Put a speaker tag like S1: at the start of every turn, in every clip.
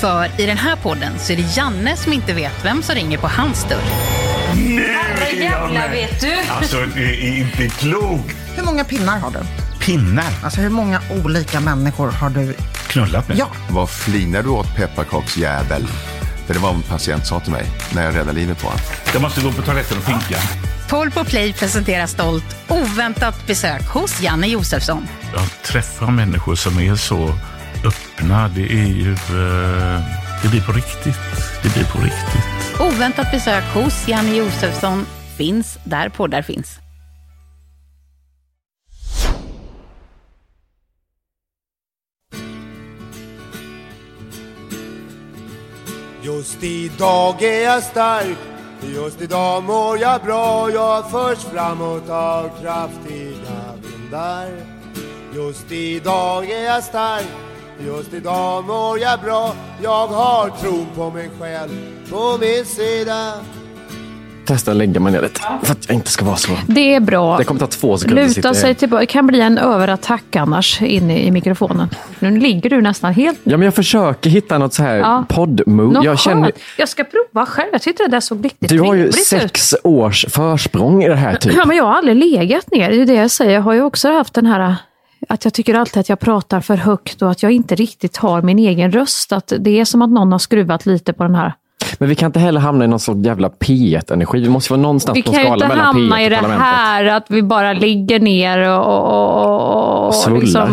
S1: För i den här podden så är det Janne som inte vet vem som ringer på hans dörr.
S2: Nej!
S3: Jävlar
S2: Janne.
S3: vet du!
S2: Alltså, det är inte klokt!
S4: Hur många pinnar har du?
S2: Pinnar?
S4: Alltså hur många olika människor har du?
S2: Knullat med?
S4: Ja,
S5: Vad flinar du åt pepparkaksjävel? För det var vad en patient sa till mig när jag räddade livet på honom.
S2: Jag måste gå på toaletten och finka.
S1: Paul på Play presenterar stolt oväntat besök hos Janne Josefsson.
S2: Att träffa människor som är så öppna, det är ju... eh, Det blir på riktigt. Det blir på riktigt.
S1: Oväntat besök hos Janne Josefsson finns där poddar finns.
S6: Just idag är jag stark Just idag mår jag bra Jag förs framåt av kraftiga vindar Just idag är jag stark Just idag mår jag bra Jag har tron på mig själv På min sida
S7: Testa lägga mig ner lite för att jag inte ska vara så.
S8: Det är bra.
S7: Det kommer ta två sekunder. att sitta-
S8: Luta sig tillbaka. Det kan bli en överattack annars inne i mikrofonen. Nu ligger du nästan helt...
S7: Ja, men jag försöker hitta något så här
S8: Ja.
S7: podd-move.
S8: Något
S7: Jag känner,
S8: skönt. jag ska prova själv. Jag tyckte det där såg riktigt
S7: du har ju
S8: trevligt ut.
S7: sex års försprång i det här typ.
S8: Ja, men jag har aldrig legat ner. Det är ju det jag säger. Jag har ju också haft den här att jag tycker alltid att jag pratar för högt och att jag inte riktigt har min egen röst. Att det är som att någon har skruvat lite på den här.
S7: Men vi kan inte heller hamna i någon sorts jävla P1-energi. Vi måste vara någonstans
S8: Vi
S7: på
S8: kan ju inte
S7: skalan mellan
S8: hamna
S7: P1
S8: i
S7: och
S8: det
S7: parlamentet.
S8: här att vi bara ligger ner och... och, och, liksom- och
S7: Svullar.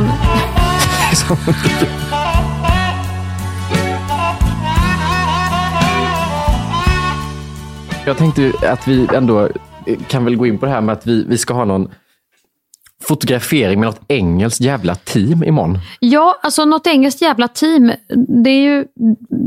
S7: Jag tänkte ju att vi ändå kan väl gå in på det här med att vi, vi ska ha någon fotografering med något engelskt jävla team imorgon.
S8: Ja, alltså något engelskt jävla team. Det är ju,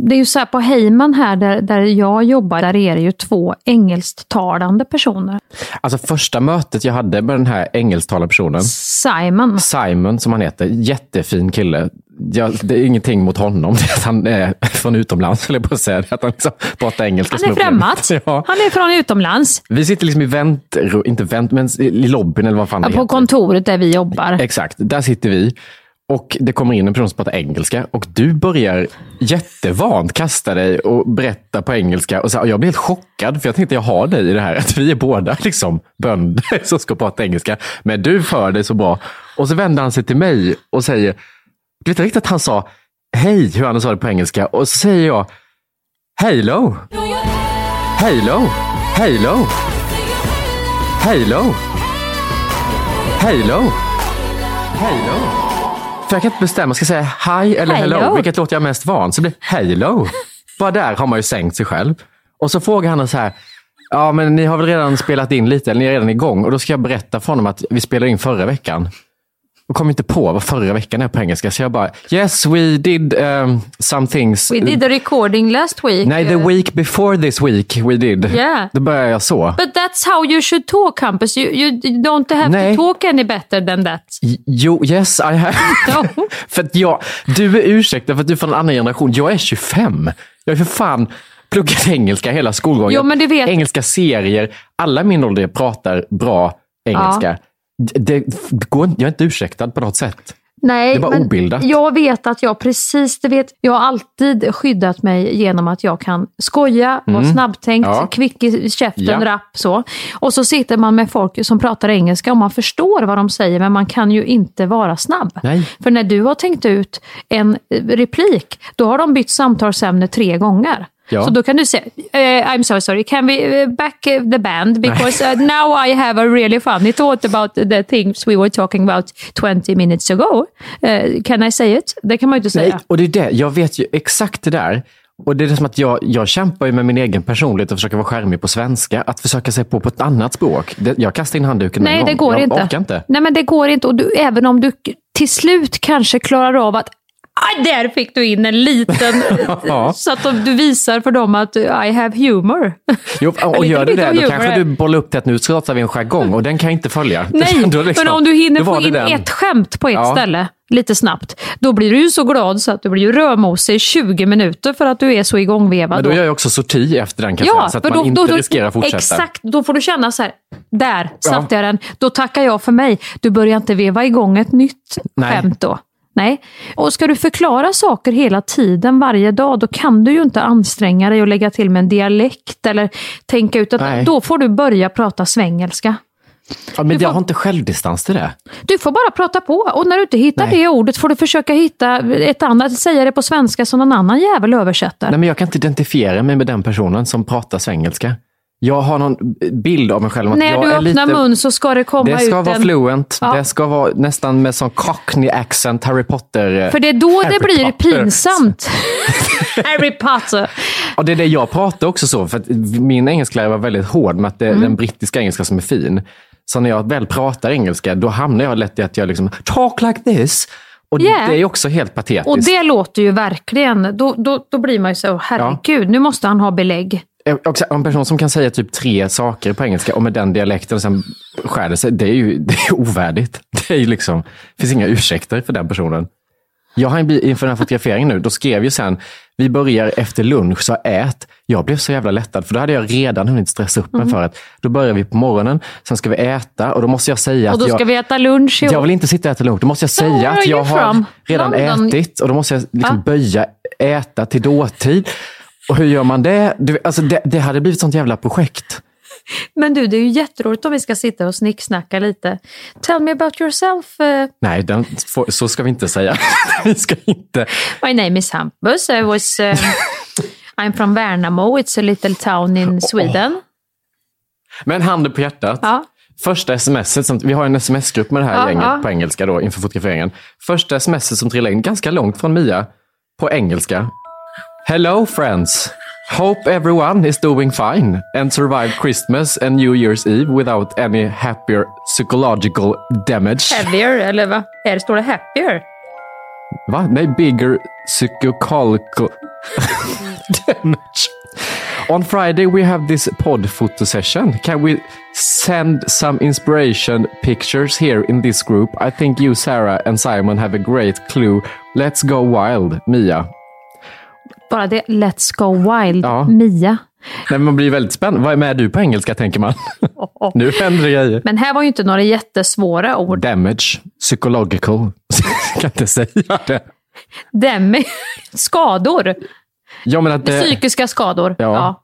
S8: det är ju så här på Heyman här där, där jag jobbar, där är det ju två engelsktalande personer.
S7: Alltså första mötet jag hade med den här engelsktalande personen,
S8: Simon.
S7: Simon som han heter, jättefin kille. Jag, det är ingenting mot honom, det är att han är från utomlands, skulle jag på att säga. Att han liksom pratar engelska.
S8: Han är
S7: som upplägg.
S8: främmat.
S7: Ja.
S8: Han är från utomlands.
S7: Vi sitter liksom i vänt, inte vänt, men i lobbyn eller vad fan det
S8: På
S7: heter.
S8: kontoret där vi jobbar.
S7: Exakt, där sitter vi. Och det kommer in en person som pratar engelska och du börjar jättevant kasta dig och berätta på engelska. Och så, och jag blir helt chockad, för jag tänkte jag har dig i det här. Att vi är båda liksom bönder som ska prata engelska. Men du för dig så bra. Och så vänder han sig till mig och säger, du vet riktigt att han sa hej, hur han sa det på engelska. Och så säger jag, hello, hello, hello, hello, hello. Hello. För jag kan inte bestämma, ska jag säga hi eller hello?
S8: Hello.
S7: Vilket låter jag mest van? Så det blir hello. Bara där har man ju sänkt sig själv. Och så frågar han så här, ja men ni har väl redan spelat in lite, eller ni är redan igång. Och då ska jag berätta för honom att vi spelade in förra veckan. Och kom inte på vad förra veckan är på engelska, så jag bara, yes we did um, some things.
S8: We did a recording last week.
S7: Nej, the
S8: Uh,
S7: week before this week we did.
S8: Yeah.
S7: Då börjar jag så.
S8: But that's how you should talk, Hampus. You, you don't have
S7: Nej.
S8: to talk any better than that.
S7: Jo, yes I have.
S8: No.
S7: för att jag, du är ursäktad för att du är från en annan generation. Jag är 25. Jag är för fan pluggat engelska hela skolgången.
S8: Jo, men du vet-
S7: Engelska serier. Alla i min ålder pratar bra engelska. Det, det går, inte- jag är inte ursäktad på något sätt.
S8: Nej,
S7: Det var
S8: men
S7: obildat.
S8: Jag vet att jag precis, det vet, jag har alltid skyddat mig genom att jag kan skoja, vara snabbtänkt,
S7: Mm. Ja.
S8: kvick i käften,
S7: Ja.
S8: rapp så. Och så sitter man med folk som pratar engelska och man förstår vad de säger, men man kan ju inte vara snabb.
S7: Nej.
S8: För när du har tänkt ut en eh, replik, då har de bytt samtalsämne tre gånger.
S7: Ja.
S8: Så då kan du säga, eh, I'm so sorry, can we eh, back eh, the band? Because eh, now I have a really funny thought about the things we were talking about 20 minutes ago. Eh, can I say it? Det kan man ju inte säga.
S7: Nej, och det är det. Jag vet ju exakt det där. Och det är det som att jag, jag kämpar ju med min egen personlighet och försöker vara charmig på svenska. Att försöka sig på på ett annat språk. Det, jag kastar in handduken med
S8: Nej,
S7: en
S8: det
S7: gång.
S8: går
S7: jag
S8: inte.
S7: orkar inte.
S8: Nej, men det går inte. Och du, även om du k- till slut kanske klarar av att Aj, där fick du in en liten...
S7: Ja.
S8: så att de- du visar för dem att I have humor.
S7: Jo, och
S8: lite
S7: gör du
S8: bit
S7: det,
S8: av
S7: då
S8: humor
S7: kanske
S8: här.
S7: du bollar upp till att nu startar vi en jargong och den kan jag inte följa.
S8: Nej,
S7: Då liksom-
S8: men om du hinner
S7: då var
S8: få
S7: det
S8: in
S7: den.
S8: ett skämt på ett
S7: Ja.
S8: ställe lite snabbt, då blir du ju så glad så att du blir ju rödmosig i 20 minuter för att du är så igångvevad.
S7: Men då gör jag också sorti efter den kan jag säga,
S8: Ja,
S7: så att
S8: för
S7: man
S8: då,
S7: inte
S8: då, då,
S7: riskerar att fortsätta.
S8: Exakt, då får du känna så här, där satte jag den, då tackar jag för mig. Du börjar inte veva igång ett nytt
S7: Nej.
S8: skämt då. Nej. Och ska du förklara saker hela tiden, varje dag, då kan du ju inte anstränga dig och lägga till med en dialekt eller tänka ut att
S7: Nej.
S8: då får du börja prata svengelska.
S7: Ja, men
S8: Du
S7: jag
S8: får-
S7: har inte självdistans till det.
S8: Du får bara prata på och när du inte hittar
S7: Nej.
S8: det ordet får du försöka hitta ett annat, säga det på svenska som någon annan jävel översätter.
S7: Nej, men jag kan inte identifiera mig med den personen som pratar svengelska. Jag har någon bild av mig själv. om att
S8: när
S7: jag
S8: du
S7: är
S8: öppnar
S7: lite...
S8: mun så ska det komma
S7: Det ska
S8: ut
S7: vara
S8: en...
S7: fluent.
S8: Ja.
S7: Det ska vara nästan med sån cockney accent, Harry Potter. eh,
S8: För det är då
S7: Harry
S8: det blir
S7: Potter.
S8: pinsamt. Harry Potter.
S7: Och det är det jag pratar också så, för att min engelsklärare var väldigt hård med att det är
S8: Mm.
S7: den brittiska engelska som är fin. Så när jag väl pratar engelska, då hamnar jag lätt i att jag liksom talk like this. Och
S8: Yeah.
S7: det är ju också helt patetiskt.
S8: Och det låter ju verkligen... Då, då, då blir man ju så, "Åh, herregud, nu måste han ha belägg.
S7: Också, en person som kan säga typ tre saker på engelska och med den dialekten och sen skär det sig, det är ju det är ju ovärdigt. Det är ju liksom, det finns inga ursäkter för den personen. Jag har en bi- inför den här fotograferingen nu, då skrev ju sen, vi börjar efter lunch, så ät. Jag blev så jävla lättad, för då hade jag redan hunnit stressa upp mig
S8: Mhm.
S7: för att då börjar vi på morgonen, sen ska vi äta och då måste jag säga
S8: Och då
S7: att
S8: ska
S7: Alltså, jag,
S8: vi äta lunch i
S7: jag vill inte sitta och äta lunch. Då måste jag
S8: Where
S7: säga
S8: are
S7: att jag
S8: you
S7: har
S8: from?
S7: redan
S8: London?
S7: ätit och då måste jag liksom
S8: Ah.
S7: böja äta till dåtid. Och hur gör man det? Du, alltså det, det hade blivit sånt jävla projekt.
S8: Men du, det är ju jätteroligt om vi ska sitta och snicksnacka lite. Tell me about yourself. eh,
S7: Nej, den, får- så ska vi inte säga. vi ska inte.
S8: My name is Hampus. I was, um, I'm from Värnamo. It's a little town in Sweden.
S7: Men handen på hjärtat.
S8: Ja.
S7: Första smset, som, vi har en sms-grupp med det här
S8: Ja,
S7: gänget
S8: ja.
S7: på engelska då, inför fotograferingen. Första smset som trillade in, ganska långt från Mia, på engelska. Hello friends! Hope everyone is doing fine and survived Christmas and New Year's Eve without any happier psychological damage.
S8: Heavier, eller vad? Här står det happier.
S7: Va? Nej, bigger psychological damage. On Friday we have this pod photo session. Can we send some inspiration pictures here in this group? I think you, Sarah and Simon have a great clue. Let's go wild, Mia.
S8: Bara det, Let's Go Wild,
S7: Ja.
S8: Mia.
S7: Nej, men man blir väldigt spänd. Vad är med du på engelska, tänker man. nu händer det grejer.
S8: Men här var ju inte några jättesvåra ord.
S7: Damage, psychological. Jag kan inte säga det.
S8: Dem, skador.
S7: Jag menar att det,
S8: Psykiska skador.
S7: Ja.
S8: Ja.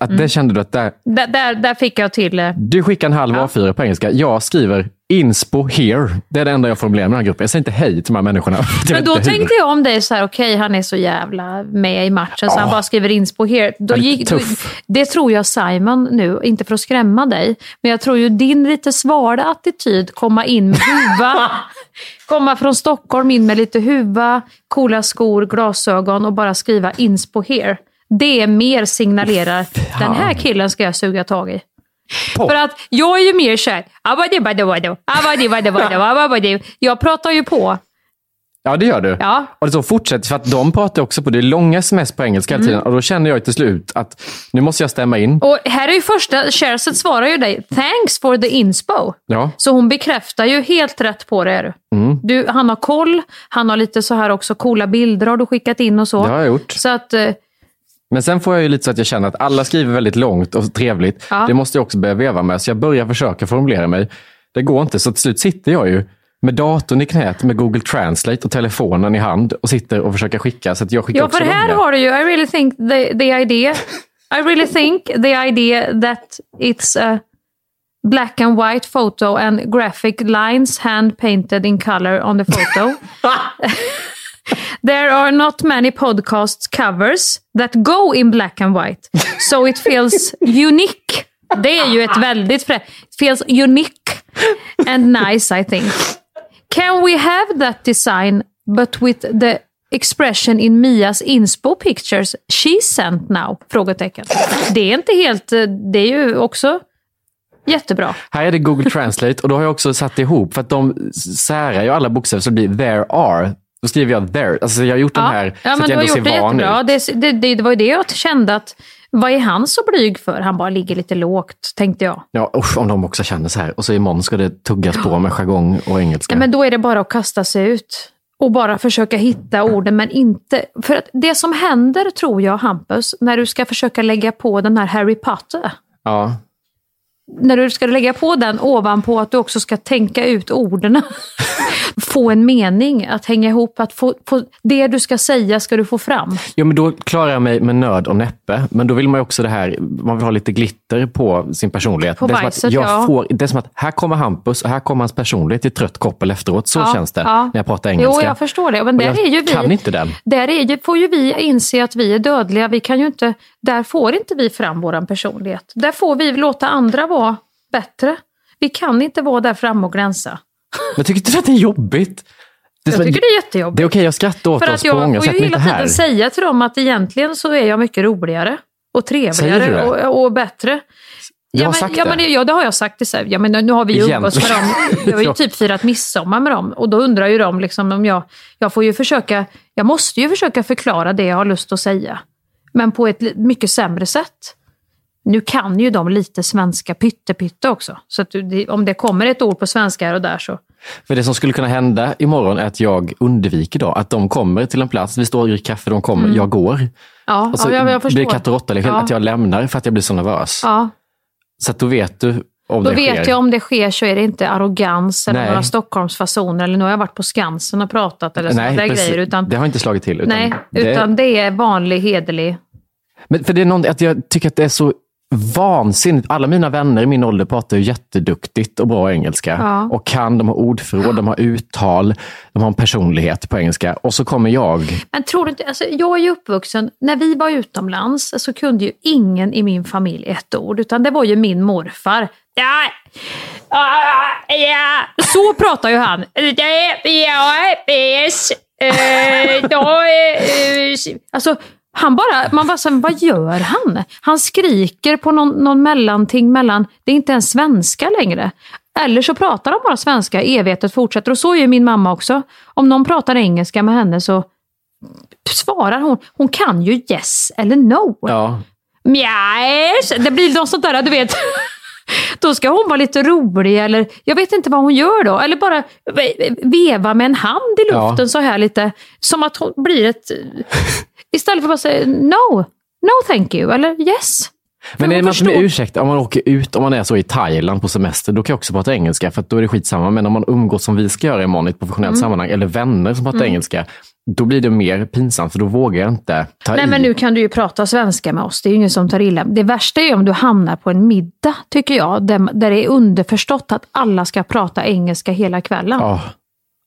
S7: att det kände du att det,
S8: Där, där, där fick jag till... eh,
S7: Du skickar en halv A4 på engelska. Jag skriver inspo here. Det är det enda jag formulerar med den här gruppen. Jag säger inte hej till de här människorna. Jag
S8: Men
S7: vet
S8: då
S7: inte hur.
S8: tänkte jag om dig så här, okej han är så jävla med i matchen så han bara skriver in på here. Då
S7: Han är
S8: gick, då,
S7: tuff.
S8: det tror jag Simon nu, inte för att skrämma dig, men jag tror ju din lite svala attityd, komma in med huva, komma från Stockholm in med lite huva, coola skor, glasögon och bara skriva inspo here. Det mer signalerar, den här killen ska jag suga tag i. För att jag är ju mer såhär, "Abadibadabado, abadibadabado, abadibadabado." jag pratar ju på.
S7: Ja, det gör du.
S8: Ja.
S7: Och så fortsätter för att de pratar också på det. Det är långa sms på engelska
S8: Mm.
S7: hela tiden. Och då känner jag till slut att nu måste jag stämma in.
S8: Och här är ju första, Sherzad svarar ju dig “Thanks for the inspo”.
S7: Ja.
S8: Så hon bekräftar ju helt rätt på det. Är du.
S7: Mm.
S8: Du, han har koll, han har lite så här också coola bilder har du skickat in och så.
S7: Det har jag gjort.
S8: Så att, eh,
S7: Men sen får jag ju lite så att jag känner att alla skriver väldigt långt och trevligt.
S8: Ja.
S7: Det måste jag också börja veva med. Så jag börjar försöka formulera mig. Det går inte, så till slut sitter jag ju med datorn i knät, med Google Translate och telefonen i hand och sitter och försöker skicka. Så att jag skickar
S8: ja,
S7: också
S8: för här
S7: långa.
S8: har du ju “I really think the, the idea, I really think the idea that it's a black and white photo and graphic lines hand painted in color on the photo. There are not many podcast covers that go in black and white. So it feels unique. Det är ju ett väldigt frä... It feels unique and nice I think. Can we have that design but with the expression in Mias inspo pictures she sent now? Frågetecken. Det är inte helt... eh, Det är ju också jättebra.
S7: Här är det Google Translate och då har jag också satt ihop för att de särar ju alla bokstäver så det blir there are. Då skriver jag there. Alltså jag har gjort de här
S8: ja, men
S7: så att
S8: du
S7: jag
S8: har
S7: ändå ser
S8: gjort det
S7: van
S8: jättebra.
S7: ut.
S8: Det, det, det, det var ju det jag kände att, vad är han så blyg för? Han bara ligger lite lågt, tänkte jag.
S7: Ja, usch, om de också känner så här. Och så imorgon ska det tuggas på med jargong och engelska.
S8: Nej, men då är det bara att kasta sig ut. Och bara försöka hitta orden, men inte... För att det som händer, tror jag, Hampus, när du ska försöka lägga på den här Harry Potter.
S7: Ja.
S8: När du ska lägga på den ovanpå att du också ska tänka ut orden. få en mening att hänga ihop. Att få, få, det du ska säga ska du få fram.
S7: ja, men då klarar jag mig med nöd och näppe. Men då vill man ju också det här, man vill ha lite glitter på sin personlighet.
S8: På
S7: det, är som
S8: bajset,
S7: att jag
S8: ja.
S7: får, det är som att här kommer Hampus och här kommer hans personlighet i trött koppel efteråt. Så
S8: Ja,
S7: känns det
S8: ja.
S7: när jag pratar engelska.
S8: Jo, jag förstår det. Men
S7: Och
S8: där
S7: jag
S8: är ju vi,
S7: kan inte den.
S8: Där är ju, får ju vi inse att vi är dödliga. Vi kan ju inte, där får inte vi fram vår personlighet. Där får vi låta andra vara bättre. Vi kan inte vara där fram och glänsa.
S7: Men tycker inte du att det är jobbigt? Det är,
S8: Jag
S7: som-
S8: tycker det är jättejobbigt.
S7: det är okej, jag skrattar åt
S8: För
S7: oss
S8: att
S7: på många
S8: jag får
S7: sätt,
S8: ju
S7: men
S8: hela
S7: inte
S8: tiden
S7: här.
S8: säga till dem att egentligen så är jag mycket roligare och
S7: Säger du
S8: trevligare
S7: det?
S8: och, och bättre.
S7: Jag har
S8: ja, men,
S7: sagt
S8: ja,
S7: det.
S8: Men, ja, det har jag sagt. till sig. Ja, men nu har vi ju umgåtts med dem.
S7: Egentligen.
S8: Vi har ju
S7: Ja.
S8: typ firat midsommar med dem. Och då undrar ju de liksom om jag... Jag får ju försöka... Jag måste ju försöka förklara det jag har lust att säga. Men på ett li- mycket sämre sätt. Nu kan ju de lite svenska pyttepytte också. Så att du, det- om det kommer ett ord på svenska här och där så...
S7: För det som skulle kunna hända imorgon är att jag undviker då, att de kommer till en plats, vi står och dricker kaffe, de kommer, jag går.
S8: Mm. Ja,
S7: Och så
S8: ja jag, jag förstår.
S7: blir Alltså, det katt och råtta, liksom,
S8: Ja.
S7: att jag lämnar för att jag blir så nervös.
S8: Ja,
S7: Så att då vet du om
S8: Då
S7: det
S8: vet
S7: sker.
S8: jag om det sker så är det inte arrogans eller
S7: Nej.
S8: några Stockholmsfasoner eller nu har jag varit på Skansen och pratat eller sådana
S7: Nej,
S8: där
S7: precis.
S8: grejer. Utan,
S7: Det har inte slagit till. Utan
S8: nej,
S7: det,
S8: utan det är vanlig hederlig.
S7: Men för det är någon, att jag tycker att det är så vansinnigt. Alla mina vänner i min ålder pratar ju jätteduktigt och bra engelska.
S8: Ja.
S7: Och kan, de har ordförråd, de har uttal, de har en personlighet på engelska. Och så kommer jag.
S8: Men tror du inte, alltså jag är ju uppvuxen, när vi var utomlands så kunde ju ingen i min familj ett ord, utan det var ju min morfar. Ja, ja, ja. Så pratar ju han. Ja, yes. Eh, ja, eh, Alltså, han bara, man bara såhär, vad gör han? Han skriker på någon, någon mellanting mellan, det är inte ens svenska längre. Eller så pratar de bara svenska, evigheten fortsätter. Och så är ju min mamma också. Om någon pratar engelska med henne så svarar hon. Hon kan ju yes eller no.
S7: Ja,
S8: Mjäs! Det blir något sånt där, du vet. Då ska hon vara lite rolig eller jag vet inte vad hon gör då. Eller bara ve- veva med en hand i
S7: Ja.
S8: luften så här lite. Som att hon blir ett... Istället för att bara säga no, no thank you eller yes.
S7: Men är det
S8: hon
S7: massor med
S8: förstår-
S7: ursäkt om man åker ut, om man är så i Thailand på semester, då kan jag också prata engelska, för att då är det skitsamma. Men om man umgås som vi ska göra imorgon i ett professionellt
S8: Mm.
S7: sammanhang, eller vänner som pratar engelska, då blir det mer pinsamt, för då vågar jag inte ta
S8: Nej
S7: i.
S8: men nu kan du ju prata svenska med oss, det är ju ingen som tar illa. Det värsta är ju om du hamnar på en middag, tycker jag, där, där det är underförstått att alla ska prata engelska hela kvällen.
S7: Ja,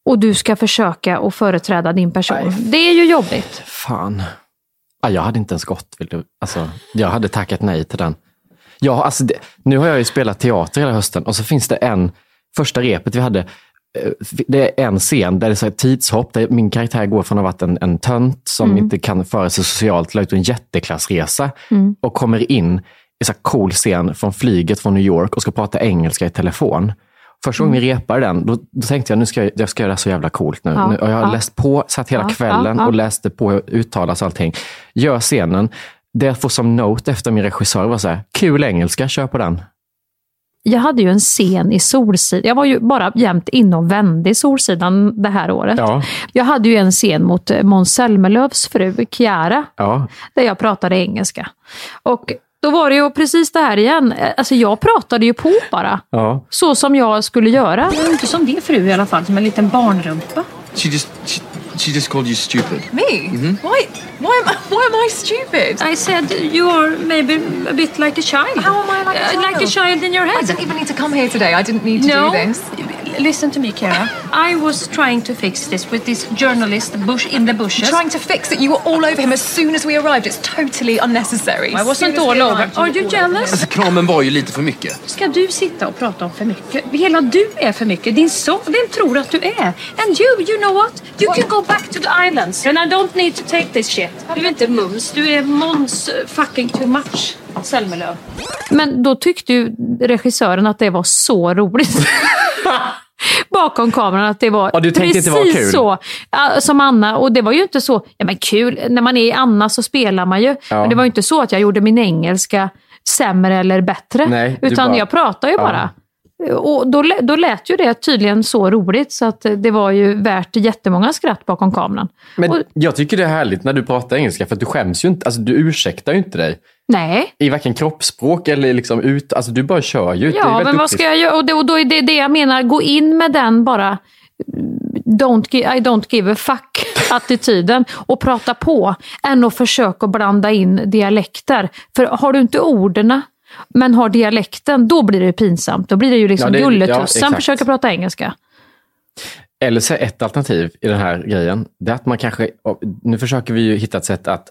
S8: Och du ska försöka att företräda din person. Det är ju jobbigt.
S7: fan. Ja, jag hade inte ens gått. Vill du? Alltså, jag hade tackat nej till den. Ja, alltså, det, nu har jag ju spelat teater hela hösten och så finns det en, första repet vi hade, eh, det är en scen där det är så här tidshopp, där min karaktär går från att ha varit en, en tönt som inte kan föra sig socialt till att ha gjort en jätteklassresa och kommer in i så här cool scen från flyget från New York och ska prata engelska i telefon. Första gången vi repade den, då, då tänkte jag nu ska jag, jag ska göra det här så jävla coolt nu.
S8: Mm. Ja,
S7: nu och jag har
S8: ja.
S7: läst på, satt hela
S8: Ja,
S7: kvällen
S8: ja, ja.
S7: och läste på hur uttalas och allting. Gör scenen. Det jag får som note efter min regissör var så här, kul engelska, kör på den.
S8: Jag hade ju en scen i Solsidan. Jag var ju bara jämt inne och vände i Solsidan det här året.
S7: Ja.
S8: Jag hade ju en scen mot eh, Måns Zelmerlöws fru Chiara,
S7: Ja,
S8: där jag pratade engelska. Och då var det ju precis det här igen. Eh, Alltså jag pratade ju på bara.
S7: ja.
S8: Så som jag skulle göra.
S1: Det är inte som din fru i alla fall, som en liten barnrumpa.
S3: She just she, she just called you stupid.
S1: Me?
S7: Mhm.
S1: Why, why, am I, why am I stupid?
S8: I said you are maybe a bit like a child.
S1: How am I like a
S8: Uh,
S1: child?
S8: Like a child in your
S1: I
S8: head.
S1: didn't even need to come here today. I didn't need to do this.
S9: listen to me, Kira. I was trying to fix this with this journalist bush in the bushes.
S10: Trying to fix it. You were all over him as soon as we arrived. It's totally unnecessary.
S9: I wasn't all over. Are you jealous?
S3: Alltså, kramen var ju lite för mycket.
S9: Ska du sitta och prata om för mycket? Hela du är för mycket. Din son, vem tror att du är? And you, you know what? You can go back to the islands. And I don't need to take this shit. Du är inte mums. Du är Måns eh, fucking too much. Zelmerlöw.
S8: Men då tyckte ju regissören att det var så roligt. Bakom kameran att det var
S7: Ja, du tänkte
S8: precis
S7: inte det var kul.
S8: så äh, som Anna. Och det var ju inte så, ja men kul, när man är i Anna så spelar man ju.
S7: Ja.
S8: Men det var ju inte så att jag gjorde min engelska sämre eller bättre.
S7: Nej, du
S8: utan
S7: bara-
S8: jag pratade ju
S7: Ja.
S8: bara. Och då, lä- då lät ju det tydligen så roligt så att eh, det var ju värt jättemånga skratt bakom kameran.
S7: Men
S8: Och,
S7: jag tycker det är härligt när du pratar engelska för att du skäms ju inte, alltså du ursäktar ju inte dig.
S8: nej,
S7: I varken kroppsspråk eller liksom ut, alltså du bara kör ju. Det är
S8: Ja,
S7: väldigt
S8: men vad
S7: duktigt.
S8: ska jag göra? Och, det, och då är det det jag menar, gå in med den bara don't gi- I don't give a fuck-attityden och prata på, än att försöka blanda in dialekter. För har du inte orden, men har dialekten, då blir det ju pinsamt. Då blir det ju liksom
S7: Ja, det- ja,
S8: gulletussen,
S7: exakt.
S8: försöker prata engelska.
S7: Eller så är ett alternativ i den här grejen, det är att man kanske, nu försöker vi ju hitta ett sätt att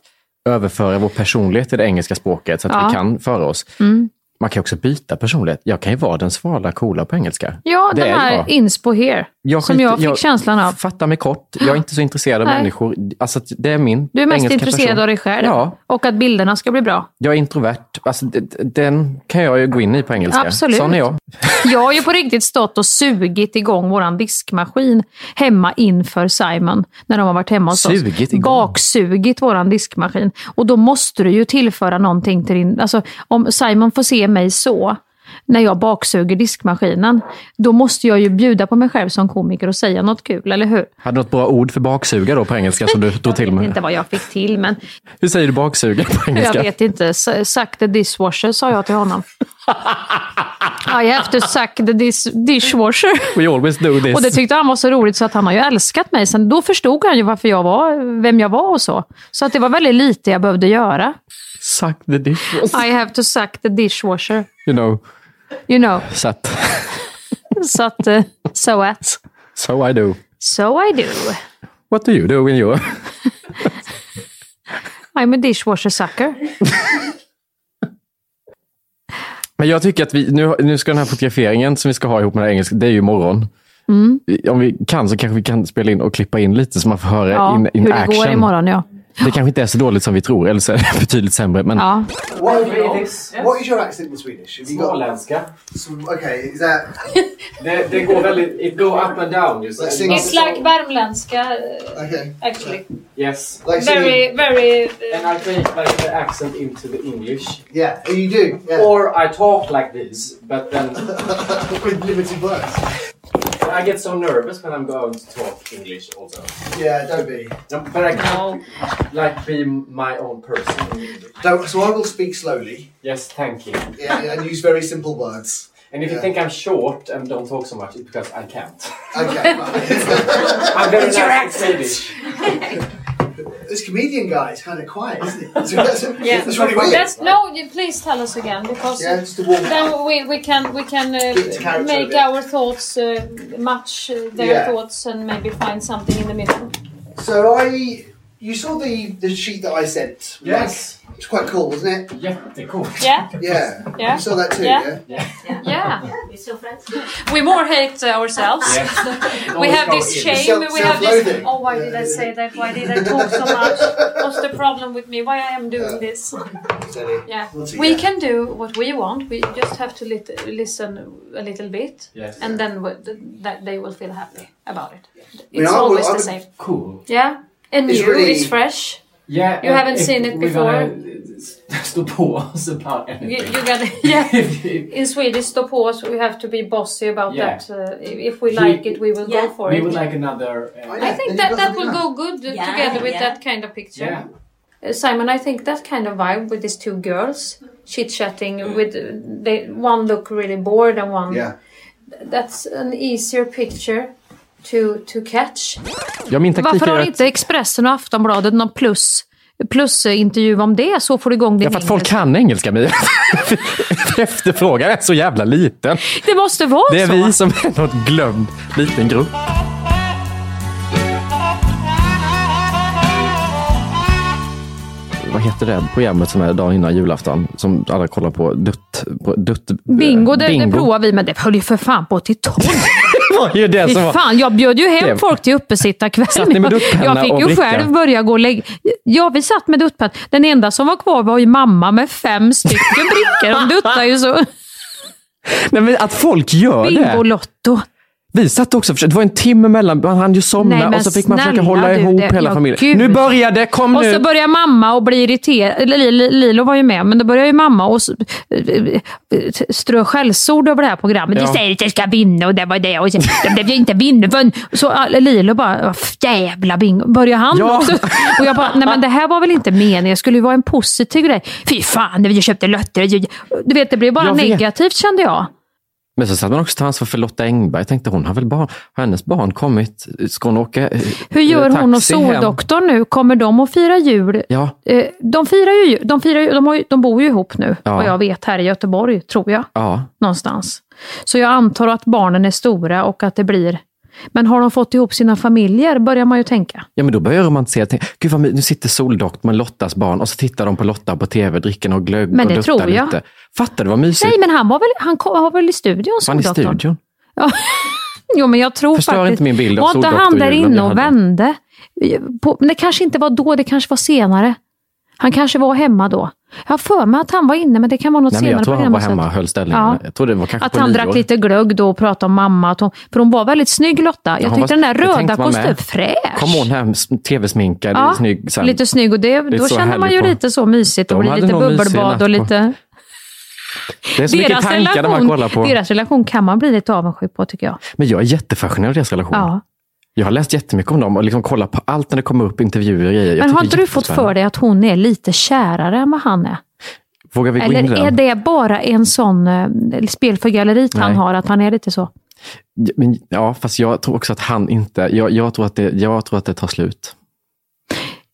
S7: överföra vår personlighet till det engelska språket så att
S8: Ja.
S7: vi kan föra oss.
S8: Mm.
S7: Man kan ju också byta personlighet. Jag kan ju vara den svala, coola på engelska.
S8: Ja,
S7: det
S8: den
S7: är
S8: här
S7: jag.
S8: inspo here,
S7: Jag
S8: som
S7: skiter-
S8: jag fick
S7: jag-
S8: känslan av.
S7: Fatta mig kort, jag är inte så intresserad av
S8: Nej.
S7: människor. Alltså, det är min
S8: Du är mest
S7: engelska
S8: intresserad
S7: person.
S8: av dig själv
S7: Ja,
S8: och att bilderna ska bli bra.
S7: jag är introvert. Alltså, d- d- den kan jag ju gå in i på engelska.
S8: Absolut.
S7: Sån är jag.
S8: Jag har ju på riktigt stått och sugit igång våran diskmaskin hemma inför Simon. När de har varit hemma hos
S7: Sugit
S8: oss.
S7: igång?
S8: Baksugit våran diskmaskin. Och då måste du ju tillföra någonting till din... Alltså, om Simon får se mig så, när jag baksuger diskmaskinen, då måste jag ju bjuda på mig själv som komiker och säga något kul, eller hur?
S7: Hade du något bra ord för baksuga då på engelska som du drog till
S8: Jag vet inte
S7: med?
S8: vad jag fick till, men
S7: Hur säger du baksuga på engelska?
S8: jag vet inte. S- Suck the dishwasher, sa jag till honom. I have to suck the dis- dishwasher.
S7: We always do this.
S8: Och det tyckte han var så roligt så att han har ju älskat mig. Sen då förstod han ju varför jag var, vem jag var och så. Så att det var väldigt lite jag behövde göra.
S7: Suck the dish.
S8: I have to suck the dishwasher.
S7: You know,
S8: You know.
S7: sat.
S8: Så att, eh, so at.
S7: So I do.
S8: So I do.
S7: What do you do when you...
S8: I'm a dishwasher sucker.
S7: Men jag tycker att vi, nu, nu ska den här fotograferingen som vi ska ha ihop med den här engelska, det är ju imorgon.
S8: Mm.
S7: Om vi kan så kanske vi kan spela in och klippa in lite så man får höra
S8: Ja,
S7: in, in
S8: hur
S7: action.
S8: det går imorgon, ja.
S7: Det kanske inte är så dåligt som vi tror, eller så är det betydligt sämre. Men
S8: ja.
S11: What, what is your accent in Swedish? Have you got- Sw- Okay, is that
S7: Det, går väldigt... It go up and down. Just
S11: Let's sing- It's like
S8: värmländska,
S11: okay?
S8: actually.
S7: Yes.
S11: Like singing-
S8: very...
S7: And I change like the accent into the English.
S11: yeah, you do. Yeah.
S7: Or I talk like this, but then
S11: with limited words.
S7: I get so nervous when I'm going to talk English also.
S11: Yeah, don't be.
S7: But I can't like be my own person in English.
S11: Don't. So I will speak slowly.
S7: Yes, thank you.
S11: Yeah, and use very simple words.
S7: And if
S11: Yeah.
S7: you think I'm short and don't talk so much, it's because I can't.
S11: Okay.
S7: I'm very
S11: It's your
S7: nice in Swedish.
S11: this comedian guy is kind of quiet, isn't he? That's, that's, that's really weird.
S8: no, please tell us again. Because
S11: Yeah, just to warm it up.
S8: we, we can we can uh,
S11: It's character make a bit.
S8: our thoughts uh, match
S11: their Yeah.
S8: thoughts and maybe find something in the middle.
S11: So I, you saw the the sheet that I sent. Mike?
S7: Yes.
S11: It's quite cool, wasn't it?
S7: Jättekul.
S8: Yeah,
S11: Yeah.
S8: Yeah.
S11: You saw that too,
S8: Yeah.
S11: yeah?
S8: yeah. We more hate uh, ourselves. We have this shame.
S11: Self-
S8: We have this.
S11: self-loathing.
S8: Oh, why did I say that? Why did I talk so much? What's the problem with me? Why I am doing this? Yeah, we can do what we want. We just have to lit- listen a little bit,
S7: Yes.
S8: and then we- th- that they will feel happy about it. It's
S11: mean, I would-
S8: always
S11: I
S8: the
S11: would-
S8: same.
S7: Cool.
S8: Yeah, and
S11: It's
S8: new,
S11: really-
S8: it's fresh.
S7: Yeah.
S8: You
S7: and
S8: haven't
S7: if
S8: seen it
S7: we're
S8: before.
S7: Gonna stå på oss about
S8: You,
S7: anything.
S8: you got it. Yeah. In Swedish, stå på oss. We have to be bossy about
S7: Yeah.
S8: that. Uh, if we like it, we will go for
S7: We
S8: it.
S7: would like another...
S11: Oh,
S7: Uh,
S11: yeah,
S8: I think
S11: then
S8: that
S11: you've got
S8: that
S11: something
S8: will
S11: nice.
S8: go good uh, together with that kind of picture.
S7: yeah.
S8: Uh, Simon, I think that kind of vibe with these two girls chit chatting with uh, they one look really bored and one
S11: Yeah.
S8: that's an easier picture to to catch.
S7: Ja, min taktik
S8: Varför
S7: är
S8: har
S7: att...
S8: inte Expressen och Aftonbladet någon plus plusintervju om det så får du igång din
S7: Ja, för att folk
S8: engelska.
S7: kan engelska, Mia. Efterfrågan är så jävla liten.
S8: Det måste vara
S7: Det är
S8: så.
S7: vi som är något glömd liten grupp. Vad heter det programmet som är dagen innan julafton? Som alla kollar på. Dutt... på- dutt
S8: Bingo, det, det
S7: Bingo.
S8: provar vi, men det höll ju för fan på till tolv.
S7: Det var ju det
S8: Fy
S7: som var...
S8: fan, jag bjöd ju hem
S7: Det-
S8: folk till uppesittarkväll.
S7: Satt ni med duttpenna
S8: jag
S7: och
S8: fick ju
S7: bricka?
S8: själv börja gå och lägga... Ja, vi satt med duttpenna. Den enda som var kvar var ju mamma med fem stycken brickor. De duttar ju så.
S7: Nej, men att folk gör det.
S8: Bingolotto.
S7: Vi satt också och försökte- Det var en timme mellan. Man hann ju somna
S8: Nej, men
S7: och så fick man försöka
S8: snälla
S7: hålla
S8: du,
S7: ihop
S8: det-
S7: hela
S8: ja,
S7: familjen.
S8: gud.
S7: Nu börjar det! Kom
S8: och
S7: nu!
S8: så börjar mamma och blir irriterad. Eller Li- Lilo var ju med, men då börjar ju mamma och s- eh, strö skällsord över det här programmet.
S12: Ja.
S8: Du säger att jag ska vinna och det var det. Och sen, det blev ju inte vinna. förrän- Så ah, Lilo bara, "Vad jävla bingo. Börjar han
S12: Ja.
S8: också? Och jag bara, nej men det här var väl inte meningen. Jag skulle ju vara en positiv grej. Fy fan, jag köpte lotter. Du vet, det blev bara
S7: Jag vet.
S8: negativt kände jag.
S7: Men så satt man också till ansvar för Lotta Engberg. Jag tänkte hon har väl barn, har hennes barn kommit? Ska hon åka eh,
S8: Hur gör hon och
S7: taxi hem?
S8: Soldoktorn nu? Kommer de att fira jul?
S7: Ja.
S8: Eh, De, firar ju, de, firar ju, de, har ju, de bor ju ihop nu,
S7: Ja.
S8: vad jag vet, här i Göteborg, tror jag.
S7: Ja.
S8: Någonstans. Så jag antar att barnen är stora och att det blir... Men har de fått ihop sina familjer, börjar man ju tänka.
S7: ja, men då börjar jag romantisera. Tänk, Gud vad my- nu sitter Soldoktorn med Lottas barn och så tittar de på Lotta på tv, dricker någon glögg
S8: Men
S7: och
S8: det
S7: duttar
S8: tror jag.
S7: lite. Fattar du vad mysigt?
S8: Nej, men han var väl, han kom, var väl i studion,
S7: Han i
S8: Soldoktorn?
S7: studion.
S8: Ja. Jo, men jag tror
S7: Förstör
S8: faktiskt...
S7: inte min bild av
S8: Var inte han där
S7: Soldoktorn-julen
S8: inne
S7: jag
S8: och
S7: hade.
S8: vände? På, men det kanske inte var då, det kanske var senare. Han kanske var hemma då. Jag har för mig att han var inne, men det kan vara något
S7: Nej, men
S8: senare
S7: jag tror han
S8: program
S7: var
S8: jag sett.
S7: hemma och höll ställningen.
S8: Ja.
S7: Jag tror det var kanske
S8: Att
S7: på
S8: han
S7: nyår.
S8: drack lite glögg då och pratade om mamma. Att hon, för hon var väldigt snygg Lotta. Jag
S7: Hon
S8: tyckte
S7: var-
S8: den där
S7: det tänkte
S8: röda
S7: man
S8: kostymen,
S7: med.
S8: fräsch.
S7: Kom hon hem s- tv-sminkad,
S8: Ja,
S7: snygg. sen.
S8: lite snygg och det,
S7: Det är
S8: då
S7: så
S8: känner man
S7: härligt
S8: ju
S7: på-
S8: lite så mysigt.
S7: De
S8: och
S7: hade
S8: lite
S7: någon mysig
S8: bubbelbad
S7: natt
S8: och
S7: på-
S8: lite...
S7: Det är så mycket tankar när man kollar på.
S8: deras relation kan man bli lite avundsjuk på tycker jag.
S7: Men jag är jättefascinerad av deras relation.
S8: Ja.
S7: Jag har läst jättemycket om dem och liksom kollat på allt när det kommer upp intervjuer och grejer. Jag
S8: Men har
S7: tycker
S8: inte
S7: det är
S8: du fått
S7: jättespännande.
S8: för dig att hon är lite kärare än vad han är?
S7: Vågar vi gå in i
S8: Eller är
S7: den?
S8: det bara en sån eh, spel för galleriet han
S7: Nej.
S8: har, att han är lite så?
S7: Ja, Men, ja, fast jag tror också att han inte... Jag, jag, tror, att det, jag tror att det tar slut.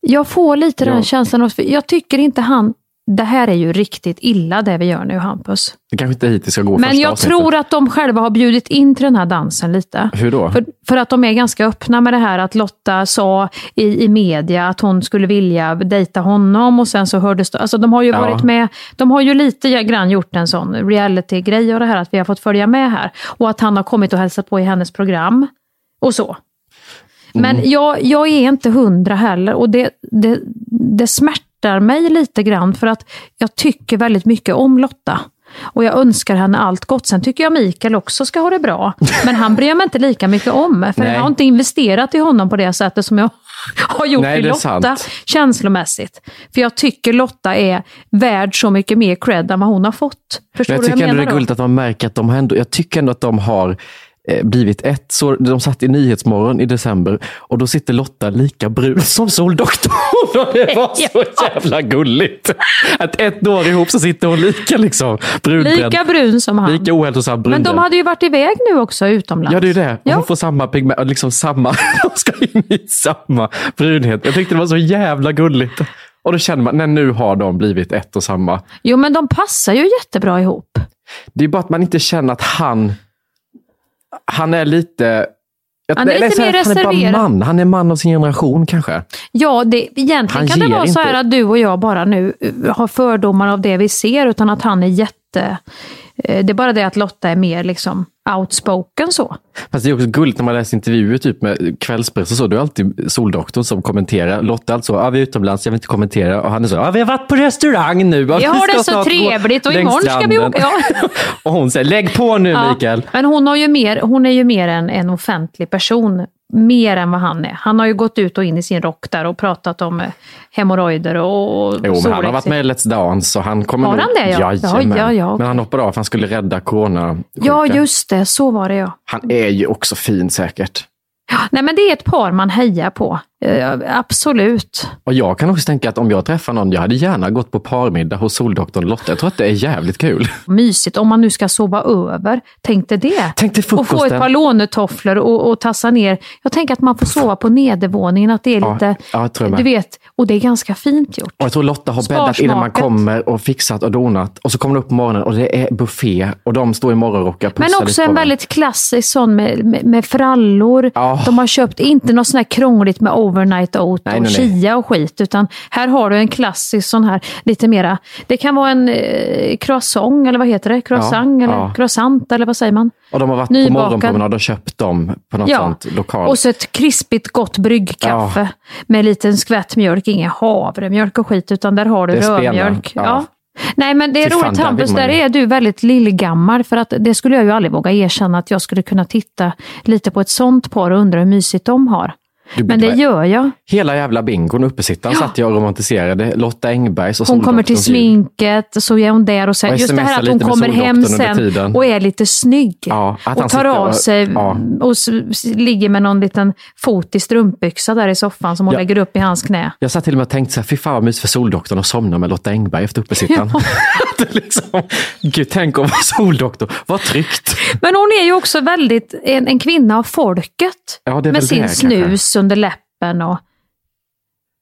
S8: Jag får lite
S7: Ja.
S8: den känslan. också, för Jag tycker inte han... Det här är ju riktigt illa det vi gör nu, Hampus.
S7: Det kanske inte är hit vi ska gå
S8: Men
S7: första
S8: jag
S7: avsnittet.
S8: tror att de själva har bjudit in till den här dansen lite.
S7: Hur då?
S8: För, för att de är ganska öppna med det här att Lotta sa i, i media att hon skulle vilja dejta honom och sen så hördes det... Alltså de har ju
S12: Ja.
S8: varit med... De har ju lite grann gjort en sån reality-grej och det här att vi har fått följa med här. Och att han har kommit och hälsat på i hennes program. Och så. Men
S7: Mm.
S8: jag, jag är inte hundra heller och det, det, det smärtar mig lite grann för att jag tycker väldigt mycket om Lotta. Och jag önskar henne allt gott. Sen tycker jag Mikael också ska ha det bra. Men han bryr jag mig inte lika mycket om. För
S12: Nej.
S8: jag har inte investerat i honom på det sättet som jag har gjort
S12: Nej,
S8: i
S12: det är
S8: Lotta.
S12: sant.
S8: Känslomässigt. För jag tycker Lotta är värd så mycket mer cred än vad hon har fått. Förstår
S7: Men jag
S8: du
S7: tycker
S8: vad jag
S7: ändå
S8: menar
S7: det är
S8: då?
S7: gulligt att man märker att de har ändå, jag tycker ändå att de har eh, blivit ett. Så de satt i Nyhetsmorgon i december och då sitter Lotta lika brun som Soldoktorn. Och det var så jävla gulligt. Att ett år ihop så sitter hon lika liksom, brunbränd.
S8: Lika brun som han.
S7: Lika ohälsosamt brunbränd.
S8: Men de hade ju varit iväg nu också utomlands.
S7: Ja, det är ju det. Och
S8: Ja.
S7: Hon får samma pigment, liksom samma, de ska in i samma brunhet. Jag tyckte det var så jävla gulligt. Och då känner man, nej nu har de blivit ett och samma.
S8: Jo, men de passar ju jättebra ihop.
S7: Det är bara att man inte känner att han, han är lite... jag-
S8: Han är
S7: eller
S8: lite
S7: så här,
S8: mer
S7: att Han är bara
S8: reserverad.
S7: man. Han är man av sin generation kanske.
S8: Ja, det, egentligen
S7: Han
S8: kan det
S7: ger
S8: vara så
S7: inte.
S8: här att du och jag bara nu eh, har fördomar av det vi ser, utan att han är jätte... eh, Det är bara det att Lotta är mer liksom outspoken så.
S7: Fast det är också gulligt när man läser intervjuer typ med kvällspress och så. Det är alltid Soldoktorn som kommenterar. Lotta alltså, ja, vi är utomlands, jag vill inte kommentera. Och han är så, ja, vi har varit på restaurang nu. Ja,
S8: Vi har
S7: ska
S8: det så
S7: snart gå
S8: trevligt och
S7: längs
S8: imorgon ska vi
S7: stranden."
S8: åka-
S7: och hon säger, lägg på nu
S8: Ja,
S7: Mikael.
S8: Men hon, har ju mer, hon är ju mer en, en offentlig person, mer än vad han är. Han har ju gått ut och in i sin rock där och pratat om eh, hemorrojder och, och
S7: Jo, men han har
S8: solexit.
S7: varit med i Let's Dance. Och han kommer
S8: Har
S7: nog-
S8: han det, ja? Ja,
S7: Jajamän.
S8: ja, ja, okej.
S7: Men han hoppade av för han skulle rädda corona.
S8: Ja, just det. Så var det ja.
S7: Han är ju också fin säkert.
S8: Nej, men det är ett par man hejar på. Eh, absolut.
S7: Och jag kan också tänka att om jag träffar någon, jag hade gärna gått på parmiddag hos soldoktorn Lotta. Jag tror att det är jävligt kul.
S8: Mysigt om man nu ska sova över. Tänk dig det.
S7: Tänk dig
S8: och få ett
S7: frukosten.
S8: par lånetofflor och, och tassa ner. Jag tänker att man får sova på nedervåningen, att det är
S7: Ja,
S8: lite...
S7: ja, jag tror jag med.
S8: du vet, och det är ganska fint gjort.
S7: Och jag tror Lotta har bäddat innan man
S8: Sparsmakat.
S7: kommer och fixat och donat. Och så kommer hon upp på morgonen och det är buffé och de står i morgonrockar och
S8: Men
S7: pussar lite
S8: också
S7: på
S8: en
S7: varandra.
S8: väldigt klassisk sån med, med, med frallor. De har köpt, inte något sån här krångligt med overnight oat
S7: Nej,
S8: och
S7: nej, nej.
S8: chia och skit. Utan här har du en klassisk sån här, lite mera. Det kan vara en eh, croissant, eller vad heter det? Croissant,
S7: Ja,
S8: eller
S7: ja.
S8: croissant, eller vad säger man?
S7: Och de har varit
S8: Nybakad.
S7: på morgonpromenad och köpt dem på något
S8: Ja.
S7: sånt lokalt.
S8: Och så ett krispigt gott bryggkaffe med en liten skvätt mjölk. Ingen havremjölk och skit, utan där har du
S7: Det är spenar,
S8: rödmjölk.
S7: ja.
S8: Ja. Nej, men det är
S7: Fy fan,
S8: roligt
S7: där
S8: Hampus,
S7: vill man
S8: där
S7: ju.
S8: är du väldigt lillgammal. För att det skulle jag ju aldrig våga erkänna att jag skulle kunna titta lite på ett sånt par och undra hur mysigt de har.
S7: Du
S8: Men det
S7: blir-
S8: gör jag.
S7: Hela jävla bingon, uppesittan satt jag och romantiserade. Lotta Engbergs och
S8: Hon kommer till
S7: Soldoktorns jul.
S8: sminket, så är hon där och sen,
S7: Och
S8: just det här
S7: smsar
S8: att hon
S7: lite med
S8: kommer hem
S7: soldoktorn under
S8: sen
S7: tiden.
S8: och är lite snygg.
S7: Ja, att han
S8: och tar
S7: sitter
S8: av
S7: och-
S8: sig
S7: ja.
S8: och s- s- ligger med någon liten fot i strumpbyxa där i soffan som hon
S7: Ja.
S8: lägger upp i hans knä.
S7: Jag satt till och med och tänkte så här, fy fan vad mysigt för Soldoktorn att somna med Lotta Engberg efter uppesittan. Det är liksom, gud, tänk om Soldoktorn, vad tryggt.
S8: Men hon är ju också väldigt en, en kvinna av folket.
S7: Ja, det är väl
S8: med
S7: det,
S8: sin
S7: kanske.
S8: snus under läppen. Och...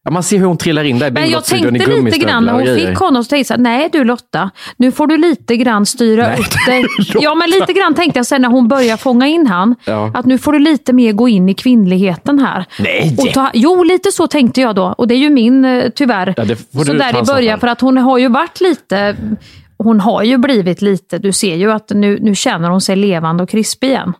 S7: Ja, man ser hur hon trillar in där i
S8: Men jag
S7: bingotstudion i
S8: tänkte lite grann
S7: gummistövlar
S8: när
S7: och
S8: hon
S7: grejer.
S8: fick honom, så tänkte jag så här, nej du Lotta, nu får du lite grann styra
S7: Nej,
S8: upp dig. Ja, men lite grann tänkte jag sen när hon började fånga in han,
S7: Ja.
S8: att nu får du lite mer gå in i kvinnligheten här.
S7: Nej!
S8: Och ta, jo, lite så tänkte jag då. Och det är ju min, eh, tyvärr,
S7: Ja, det får du
S8: så
S7: ta
S8: där i
S7: ansvar
S8: början.
S7: för.
S8: För att hon har ju varit lite, hon har ju blivit lite, du ser ju att nu, nu känner hon sig levande och krispig igen.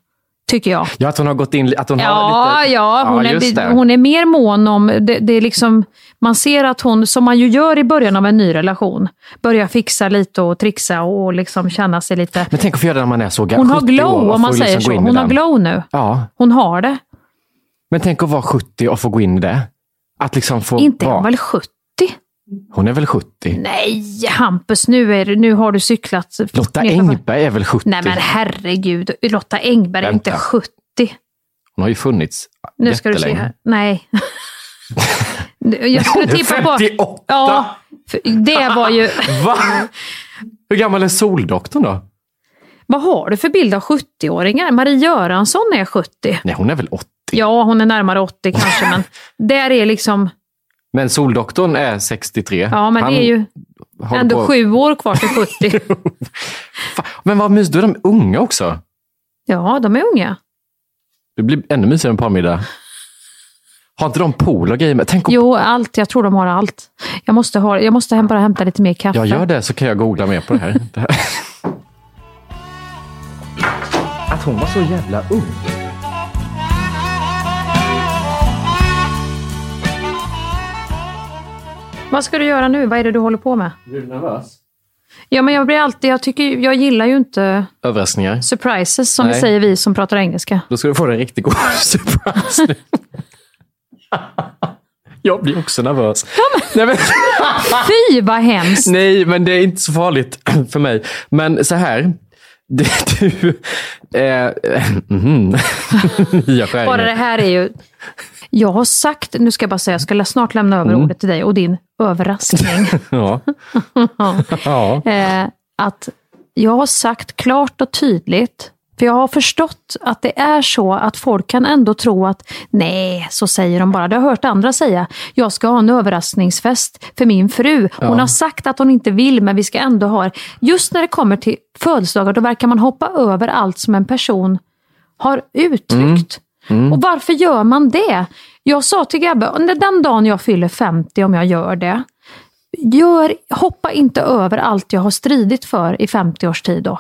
S8: Tycker jag.
S7: Ja, att hon har gått in, att hon har
S8: Ja,
S7: lite...
S8: ja, hon,
S7: just det.
S8: är, hon är mer mån om... Det, det är liksom, man ser att hon, som man ju gör i början av en ny relation, börjar fixa lite och trixa och liksom känna sig lite...
S7: Men tänk att få göra det när man är så gammal.
S8: Hon har glow, om man
S7: liksom
S8: säger så. Hon har glow nu.
S7: Ja,
S8: Hon har det.
S7: men tänk att vara 70 och få gå in i det. Att liksom få
S8: Inte är
S7: vara.
S8: hon väl 70?
S7: Hon är väl 70?
S8: Nej, Hampus, nu, är, det- nu har du cyklat...
S7: Lotta Engberg är väl 70?
S8: Nej, men herregud. Lotta Engberg är inte
S7: Vänta.
S8: 70.
S7: Hon har ju funnits
S8: Nu ska du se
S7: jättelänge.
S8: här. Nej. Jag skulle
S7: Hon är
S8: tippa på...
S7: 58.
S8: Ja, för det var ju...
S7: Va? Hur gammal är Soldoktorn då?
S8: Vad har du för bild av 70-åringar? Marie Göransson är 70.
S7: Nej, hon är väl 80?
S8: Ja, hon är närmare 80 kanske, men där är liksom...
S7: Men Soldoktorn är 63.
S8: Ja, men
S7: Han
S8: det är ju
S7: håller
S8: ändå
S7: på-
S8: sju år kvar till 70.
S7: Men vad mysigt, då är de unga också.
S8: ja, de är unga.
S7: Det blir ännu mysigare en parmiddag. Har inte de pool och grejer med? Tänk om
S8: Jo, allt. Jag tror de har allt. Jag måste, ha, jag måste hem, bara hämta lite mer kaffe.
S7: jag gör det så kan jag googla mer på det här. Det här. Att hon var så jävla ung.
S8: Vad ska du göra nu? Vad är det du håller på med?
S7: Blir du nervös?
S8: Ja, men jag blir alltid... Jag, tycker, ju- jag gillar ju inte
S7: Överraskningar.
S8: surprises, som vi
S7: Nej.
S8: säger vi som pratar engelska.
S7: Då ska du få en riktigt god surprise. nu. jag blir också nervös. Nej, men...
S8: Fy, vad hemskt!
S7: Nej, men det är inte så farligt för mig. Men så här. Du... du eh, mhm. Nya skärningar.
S8: Bara det här är ju... Jag har sagt, nu ska jag bara säga, jag ska lä- snart lämna över
S7: Mm.
S8: ordet till dig och din överraskning.
S7: Ja. ja.
S8: eh, att jag har sagt klart och tydligt, för jag har förstått att det är så att folk kan ändå tro att nej, så säger de bara. Det har jag hört andra säga. Jag ska ha en överraskningsfest för min fru. Hon
S12: Ja.
S8: har sagt att hon inte vill, men vi ska ändå ha Just när det kommer till födelsedagar, då verkar man hoppa över allt som en person har uttryckt.
S12: Mm.
S8: Och varför gör man det? Jag sa till Gabbe, "Under den dagen jag fyller 50, om jag gör det, gör, hoppa inte över allt jag har stridit för i 50 års tid. Då.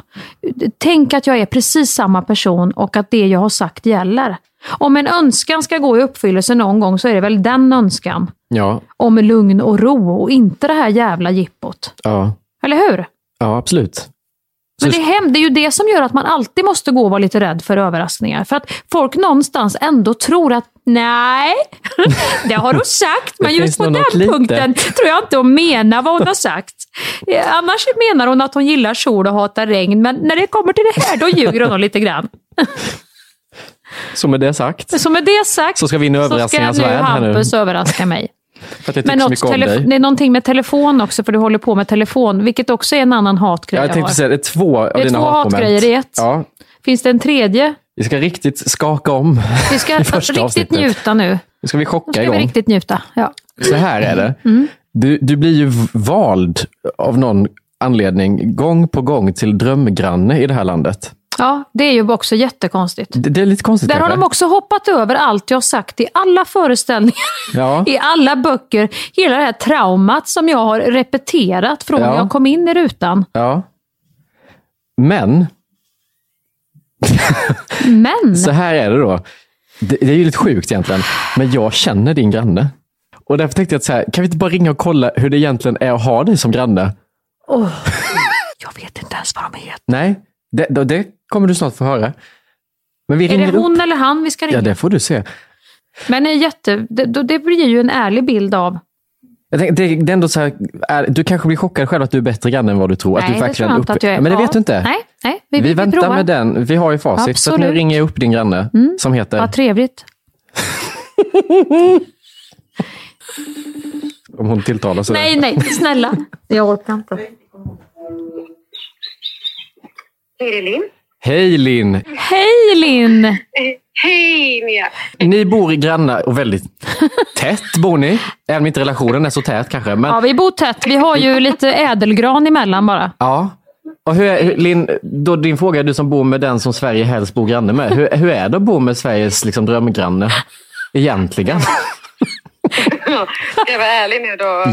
S8: Tänk att jag är precis samma person och att det jag har sagt gäller. Om en önskan ska gå i uppfyllelse någon gång så är det väl den önskan.
S7: Ja.
S8: Om lugn och ro och inte det här jävla jippot.
S7: Ja.
S8: Eller hur?
S7: ja, absolut.
S8: Men det är, hem, det är ju det som gör att man alltid måste gå och vara lite rädd för överraskningar. För att folk någonstans ändå tror att nej, det har hon sagt,
S12: Det
S8: men just
S12: finns
S8: på
S12: nog
S8: den
S12: något litet.
S8: punkten tror jag inte hon menar vad hon har sagt. Eh, Annars menar hon att hon gillar sol och hatar regn, men när det kommer till det här, då ljuger hon lite grann.
S7: Så med det sagt.
S8: Så med det sagt
S7: Så ska vi in i överraskningarnas
S8: ska nu
S7: värld här nu.
S8: Hampus överraska mig.
S7: För att jag tycker
S8: Men
S7: så
S8: något
S7: mycket om
S8: tele-
S7: dig.
S8: det är någonting med telefon också, för du håller på med telefon, vilket också är en annan hatgrej
S7: Jag
S8: jag har.
S7: tänkte säga det är två av
S8: Det är
S7: dina
S8: två
S7: hatmoment.
S8: hatgrejer i ett.
S7: Ja,
S8: Finns det en tredje?
S7: vi ska riktigt skaka om.
S8: Vi ska
S7: I första
S8: riktigt
S7: avsnittet.
S8: njuta nu.
S7: Nu ska vi chocka
S8: Nu ska vi
S7: igång.
S8: riktigt njuta. Ja.
S7: Så här är det.
S8: Mm.
S7: Du, du blir ju v- vald av någon anledning gång på gång till drömgranne i det här landet.
S8: ja, det är ju också jättekonstigt.
S7: Det, det är lite konstigt
S8: Där har
S7: kanske.
S8: de också hoppat över allt jag sagt i alla föreställningar,
S7: Ja.
S8: i alla böcker. Hela det här traumat som jag har repeterat från
S7: Ja.
S8: när jag kom in i rutan.
S7: Ja. Men,
S8: Men,
S7: så här är det då. Det, det är ju lite sjukt egentligen, men jag känner din granne. Och därför tänkte jag att så här, kan vi inte bara ringa och kolla hur det egentligen är att ha dig som granne?
S8: åh, jag vet inte ens vad de heter.
S7: Nej, det, då- det kommer du snart få höra. Men vi ringer
S8: Är det
S7: upp.
S8: hon eller han vi ska ringa?
S7: Ja, det får du se.
S8: Men är jätte, det, då- det blir ju en ärlig bild av...
S7: Jag tänker, det, det är ändå så här, är, du kanske blir chockad själv att du är bättre granne än vad du tror. att
S8: nej,
S7: du
S8: det tror jag inte att jag är.
S7: Men det vet
S8: Ja.
S7: du inte.
S8: Nej, nej vi,
S7: vi,
S8: vi, vi
S7: väntar
S8: provar.
S7: med den. Vi har ju facit. Så att nu
S8: Absolut.
S7: ringer jag upp din granne
S8: Mm.
S7: som heter...
S8: Vad trevligt.
S7: Om hon tilltalar sådär.
S8: nej, nej, snälla. Jag orkar inte.
S12: Hej Linn.
S7: Hej Linn!
S8: Hej Linn!
S12: Hej Mia.
S7: Ni bor i grannar och väldigt tätt bor ni. Även om inte relationen är så tät kanske. Men,
S8: Ja,
S7: ja.
S8: vi bor tätt. Vi har ju lite ädelgran emellan bara.
S7: Och hur är, hur- Linn, då din fråga är du som bor med den som Sverige helst bor granne med. Hur, hur är det att bo med Sveriges liksom, drömgranne? Egentligen.
S12: Ska jag vara ärlig nu då?
S7: Ja.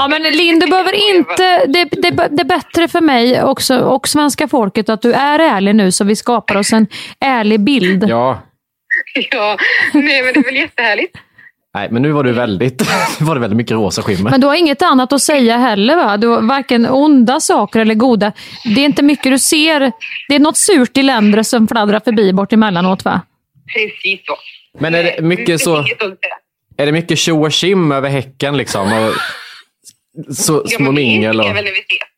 S8: Ja, men Linn, du behöver inte... Det, det, det är bättre för mig också, och svenska folket att du är ärlig nu, så vi skapar oss en ärlig bild.
S7: Ja.
S12: Ja, nej men det är väl jättehärligt.
S7: Nej, men nu var du väldigt, nu var det väldigt mycket rosa skimmer.
S8: Men du har inget annat att säga heller va? Du har varken onda saker eller goda. Det är inte mycket du ser. Det är något surt i länder som fladdrar förbi bort emellanåt va?
S12: Precis så.
S7: Men är det mycket så...
S12: Inget ont där.
S7: Är det mycket tjo och tjim över häcken liksom? Och så,
S12: Ja,
S7: små
S12: men det
S7: mingel
S12: tycker
S7: och...
S12: jag väl när vi ses.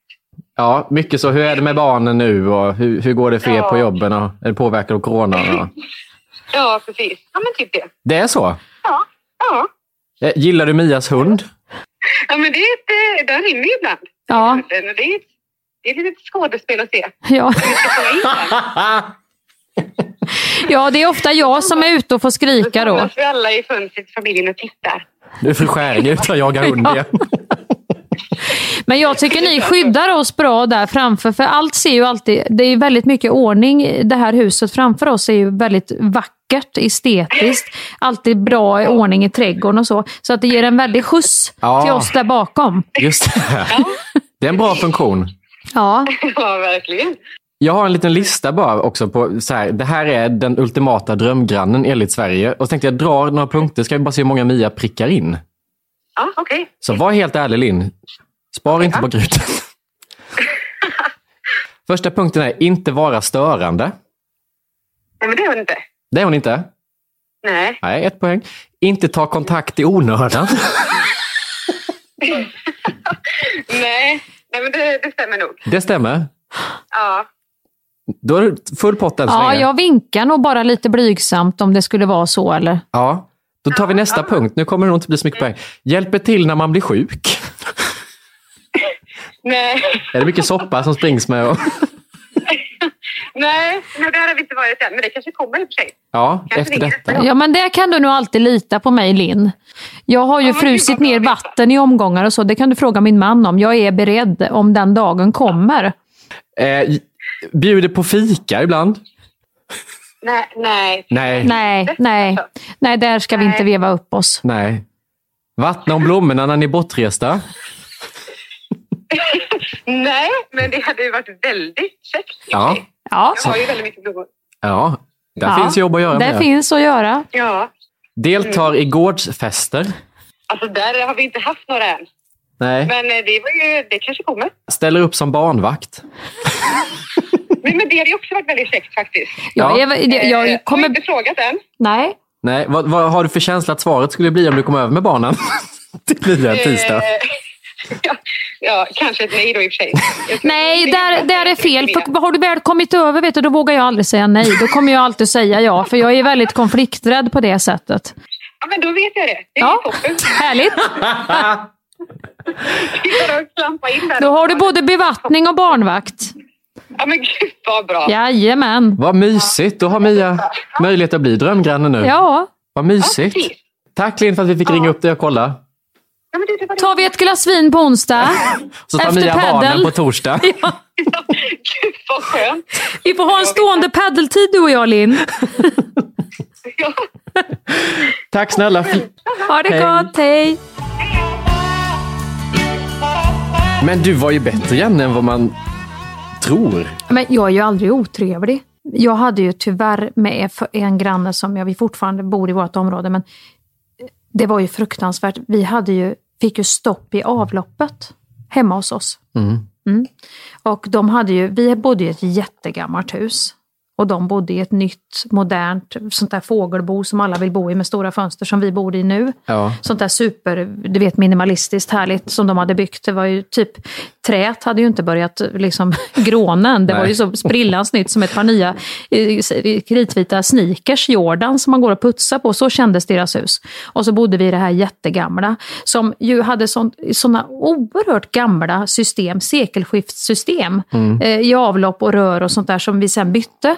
S7: Ja, mycket så. Hur är det med barnen nu? Och hur, hur går det för er på
S12: Ja.
S7: jobben? Och är det påverkat av corona? Och...
S12: Ja, precis. Ja, men typ det.
S7: Det är så?
S12: Ja. Ja,
S7: Eh, Gillar du Mias hund?
S12: ja men det är ett, eh, den rymmer ju ibland.
S8: Ja.
S12: Eh, Det är, ett- det är ett litet skådespel att se.
S8: Ja. ja, det är ofta jag som är ute och får skrika då.
S12: Annars vi alla i fönstret i familjen och tittar.
S7: Nu är fru Skäringer ute och jagar hund igen.
S8: Men jag tycker ni skyddar oss bra där framför. För allt ser ju alltid... Det är väldigt mycket ordning. i Det här huset framför oss är ju väldigt vackert, estetiskt. Alltid bra i ordning i trädgården och så. Så att det ger en väldig skjuts
S7: Ja.
S8: till oss där bakom.
S7: Just det. Det är en bra funktion.
S8: Ja.
S12: Ja, verkligen.
S7: Jag har en liten lista bara också på så här, det här är den ultimata drömgrannen enligt Sverige. Och så tänkte jag dra några punkter, ska vi bara se hur många Mia prickar in.
S12: Ja, okej.
S7: Så var helt ärlig Linn. Spara inte på krutet. Första punkten är inte vara störande.
S12: Nej, men det är hon inte.
S7: Det är hon inte.
S12: Nej.
S7: Nej, ett poäng. Inte ta kontakt i onödan.
S12: Nej, nej men det, det stämmer nog.
S7: Det stämmer.
S12: Ja.
S7: Då är det full pott än så
S8: Ja,
S7: länge.
S8: jag vinkar nog bara lite blygsamt om det skulle vara så. Eller?
S7: Ja. Då tar vi nästa punkt. Nu kommer det nog inte bli så mycket poäng. Hjälper till när man blir sjuk.
S12: Nej.
S7: Är det mycket soppa som springs med? Och...
S12: Nej, men där har vi inte varit än. Men det kanske kommer i och för sig.
S7: Ja, efter detta.
S8: Ja, men det kan du nog alltid lita på mig, Linn. Jag har ju frusit ner vatten i omgångar och så. Det kan du fråga min man om. Jag är beredd om den dagen kommer.
S7: Eh, bjuder på fika ibland.
S12: Nej, nej.
S7: Nej.
S8: Nej,
S12: Alltså.
S8: nej. Nej, där ska vi inte veva upp oss.
S7: Nej. Vattna om blommorna när ni är bortresta.
S12: nej, men det hade ju varit väldigt käckt.
S7: Ja.
S8: Ja.
S12: Jag har ju väldigt mycket blommor.
S7: Ja, där
S8: Ja,
S7: finns jobb att göra
S8: Där
S7: med.
S8: finns att göra.
S12: Ja,
S7: Deltar i gårdsfester.
S12: alltså där har vi inte haft några än.
S7: Nej.
S12: Men eh, det, var ju, det kanske kommer.
S7: Ställer upp som barnvakt.
S12: Men, men det hade ju också varit väldigt käckt faktiskt.
S7: Ja.
S8: Jag, jag,
S12: Eh,
S8: jag kommer...
S12: har inte frågat än.
S8: Nej.
S7: Nej, vad, vad har du för känsla att svaret skulle bli om du kom över med barnen? Det blir en tisdag.
S12: Eh, ja, kanske ett nej då i och för sig. Jag tror-
S8: Nej,
S12: det
S8: där,
S12: kanske
S8: där är
S12: jag skulle
S8: fel.
S12: vilja.
S8: För har du väl kommit över vet du, då vågar jag aldrig säga nej. Då kommer jag alltid säga ja, för jag är väldigt konflikträdd på det sättet.
S12: Ja, men då vet jag det. Det är
S8: Ja,
S12: ju toppen.
S8: härligt.
S12: Vi bara klampa in där.
S8: Då har du både bevattning och barnvakt.
S12: Ja, men gud vad bra.
S8: Jajamän.
S7: Vad mysigt, då har Mia möjlighet att bli drömgranne nu.
S8: Ja.
S7: Vad mysigt.
S12: precis.
S7: Tack Linn för att vi fick ringa upp dig och kolla.
S8: Tar vi ett glas vin på onsdag?
S7: Så tar
S8: Efter
S7: Mia
S8: padel.
S7: barnen på torsdag.
S12: Vad skönt.
S8: Vi får ha en stående paddeltid du och jag Linn.
S7: Tack snälla.
S8: Ha det
S7: Hej.
S8: gott, hej!
S7: Men du var ju bättre Janne än vad man tror.
S8: Men jag är ju aldrig otrevlig. Jag hade ju tyvärr med en granne som jag, vi fortfarande bor i vårt område, men det var ju fruktansvärt. Vi hade ju, fick ju stopp i avloppet hemma hos oss. Mm. Och de hade ju, vi bodde i ett jättegammalt hus. Och de bodde i ett nytt, modernt, sånt där fågelbo som alla vill bo i med stora fönster som vi bor i nu.
S7: Ja.
S8: Sånt där super, du vet minimalistiskt härligt som de hade byggt. Det var ju typ, träet hade ju inte börjat liksom gråna än. Det var
S13: Nej.
S8: ju så sprillans nytt som ett par nya eh, kritvita sneakers, Jordan, som man går och putsar på. Så kändes deras hus. Och så bodde vi i det här jättegamla, som ju hade sådana oerhört gamla system, sekelskiftssystem
S13: Mm.
S8: eh, i avlopp och rör och sånt där som vi sen bytte.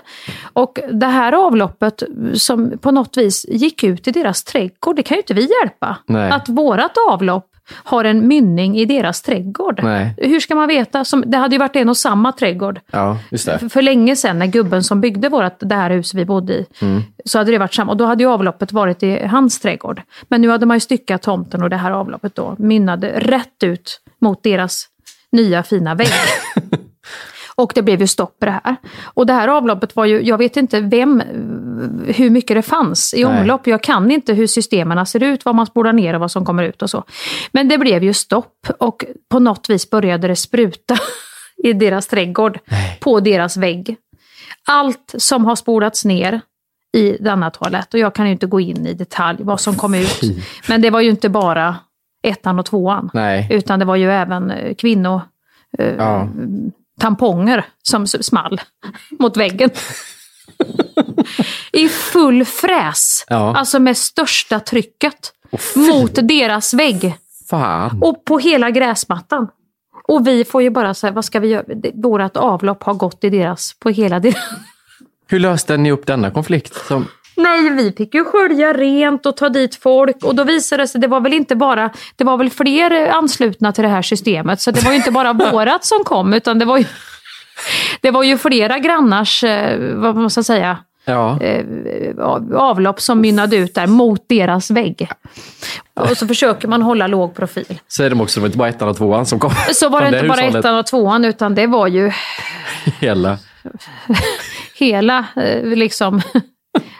S8: Och det här avloppet som på något vis gick ut i deras trädgård, det kan ju inte vi hjälpa.
S13: Nej.
S8: Att vårat avlopp har en mynning i deras trädgård.
S7: Nej.
S8: Hur ska man veta? Som, det hade ju varit en och samma trädgård.
S7: Ja, just det.
S8: För, för länge sedan när gubben som byggde vårat, det här huset vi bodde i,
S7: Mm.
S8: så hade det varit samma. Och då hade ju avloppet varit i hans trädgård. Men nu hade man ju styckat tomten och det här avloppet då mynnade rätt ut mot deras nya fina vägg. Och det blev ju stopp på det här. Och det här avloppet var ju, jag vet inte vem, hur mycket det fanns i
S13: Nej.
S8: omlopp. Jag kan inte hur systemen ser ut, vad man spolar ner och vad som kommer ut och så. Men det blev ju stopp och på något vis började det spruta i deras trädgård, på deras vägg. Allt som har spolats ner i denna toalett, och jag kan ju inte gå in i detalj vad som kom ut.
S7: Fy.
S8: Men det var ju inte bara ettan och tvåan,
S7: Nej.
S8: utan det var ju även eh, kvinno... eh,
S7: Ja.
S8: tamponger som s- small mot väggen. I full fräs.
S13: Ja.
S8: Alltså med största trycket. mot deras vägg.
S7: Fan.
S8: Och på hela gräsmattan. Och vi får ju bara säga, vad ska vi göra? Det- Vårat avlopp har gått i deras, på hela deras...
S7: Hur löste ni upp denna konflikt? Som...
S8: Nej, vi fick ju skölja rent och ta dit folk. Och då visade det sig, det var väl inte bara, det var väl fler eh, anslutna till det här systemet. Så det var ju inte bara vårat som kom, utan det var ju, det var ju flera grannars, eh, vad man ska säga,
S7: Ja.
S8: eh, av- avlopp som mynnade ut där mot deras vägg. Och så försöker man hålla låg profil.
S7: Säger de också, det var inte bara ettan och tvåan som kom.
S8: Så var det
S7: Från
S8: inte bara
S7: hushållet.
S8: ettan och tvåan, utan det var ju
S7: Hela.
S8: hela eh, liksom,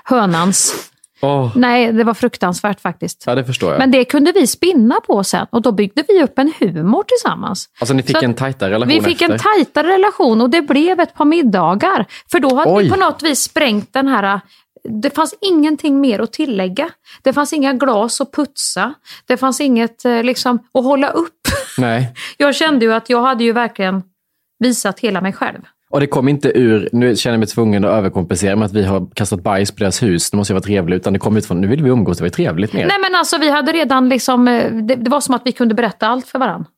S8: hönans.
S7: Åh,
S8: Nej, det var fruktansvärt faktiskt.
S7: Ja, det förstår jag.
S8: Men det kunde vi spinna på sen och då byggde vi upp en humor tillsammans.
S7: Alltså ni fick
S8: Så att
S7: en tajtare relation
S8: Vi fick
S7: efter.
S8: en tajtare relation och det blev ett par middagar. För då hade
S7: Oj.
S8: vi på något vis sprängt den här det fanns ingenting mer att tillägga. Det fanns inga glas att putsa. Det fanns inget eh, liksom, att hålla upp.
S7: Nej.
S8: Jag kände ju att jag hade ju verkligen visat hela mig själv.
S7: Och det kom inte ur, nu känner jag mig tvungen att överkompensera med att vi har kastat bajs på deras hus, nu måste jag vara trevlig, utan det kom ut från, nu vill vi umgås, det var ju trevligt med er.
S8: Nej men alltså vi hade redan liksom, eh, det, det var som att vi kunde berätta allt för varandra.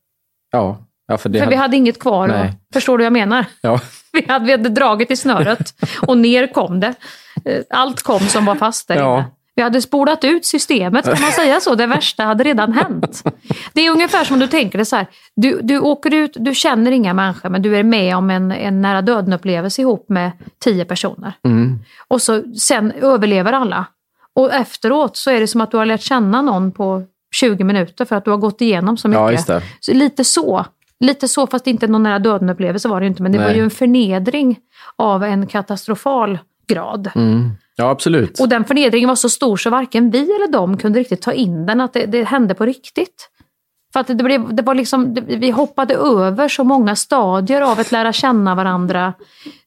S7: Ja. ja, för det
S8: För vi hade inget kvar. Och,
S7: Nej.
S8: förstår du vad jag menar?
S7: Ja.
S8: Vi hade, vi hade dragit i snöret och ner kom det. Eh, Allt kom som var fast där
S7: Ja.
S8: inne. Vi hade spolat ut systemet, kan man säga så? Det värsta hade redan hänt. Det är ungefär som du tänker det så här, du, du åker ut, du känner inga människor, men du är med om en, en nära döden-upplevelse ihop med tio personer.
S13: Mm.
S8: Och så, sen överlever alla. Och efteråt så är det som att du har lärt känna någon på 20 minuter för att du har gått igenom så mycket.
S7: Ja, just det.
S8: Så lite så. Lite så, fast inte någon nära döden-upplevelse var det ju inte. Men det
S7: Nej.
S8: var ju en förnedring av en katastrofal grad.
S7: Mm. Ja, absolut.
S8: Och den förnedringen var så stor så varken vi eller de kunde riktigt ta in den, att det, det hände på riktigt. För att det blev, det var liksom, det- vi hoppade över så många stadier av att lära känna varandra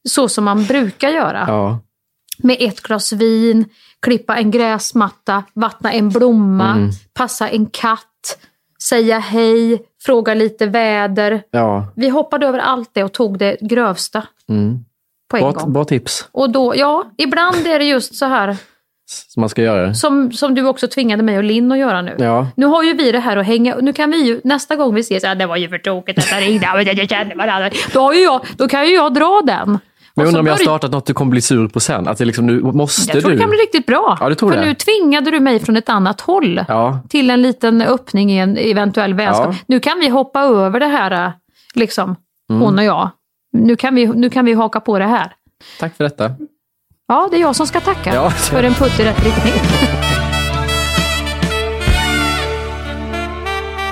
S8: så som man brukar göra
S7: Ja.
S8: med ett glas vin, klippa en gräsmatta, vattna en blomma,
S7: Mm.
S8: passa en katt, säga hej, fråga lite väder.
S7: Ja.
S8: Vi hoppade över allt det och tog det grövsta
S7: Mm.
S8: på en
S7: Bra,
S8: gång.
S7: bra tips
S8: Och då, ja, ibland är det just så här
S7: som man ska göra.
S8: som, som du också tvingade mig och Linn att göra nu.
S7: Ja.
S8: Nu har ju vi det här att hänga, nu kan vi ju nästa gång vi ses, ja, det var ju för tokigt att jag ringde, men jag känner varandra. Då, har ju jag, då kan ju jag dra den.
S7: Men jag
S8: Och så
S7: undrar om jag har
S8: börj-
S7: startat något du kommer bli sur på sen? Att det liksom, nu måste
S8: Jag tror
S7: du...
S8: det kan bli riktigt bra.
S7: Ja, du tror
S8: för
S7: det.
S8: nu tvingade du mig från ett annat håll
S7: Ja.
S8: till en liten öppning i en eventuell vänskap.
S7: Ja.
S8: Nu kan vi hoppa över det här, äh, liksom,
S7: Mm.
S8: hon och jag. Nu kan, vi, nu kan vi haka på det här.
S7: Tack för detta.
S8: Ja, det är jag som ska tacka
S7: Ja.
S8: för en putt i rätt riktning.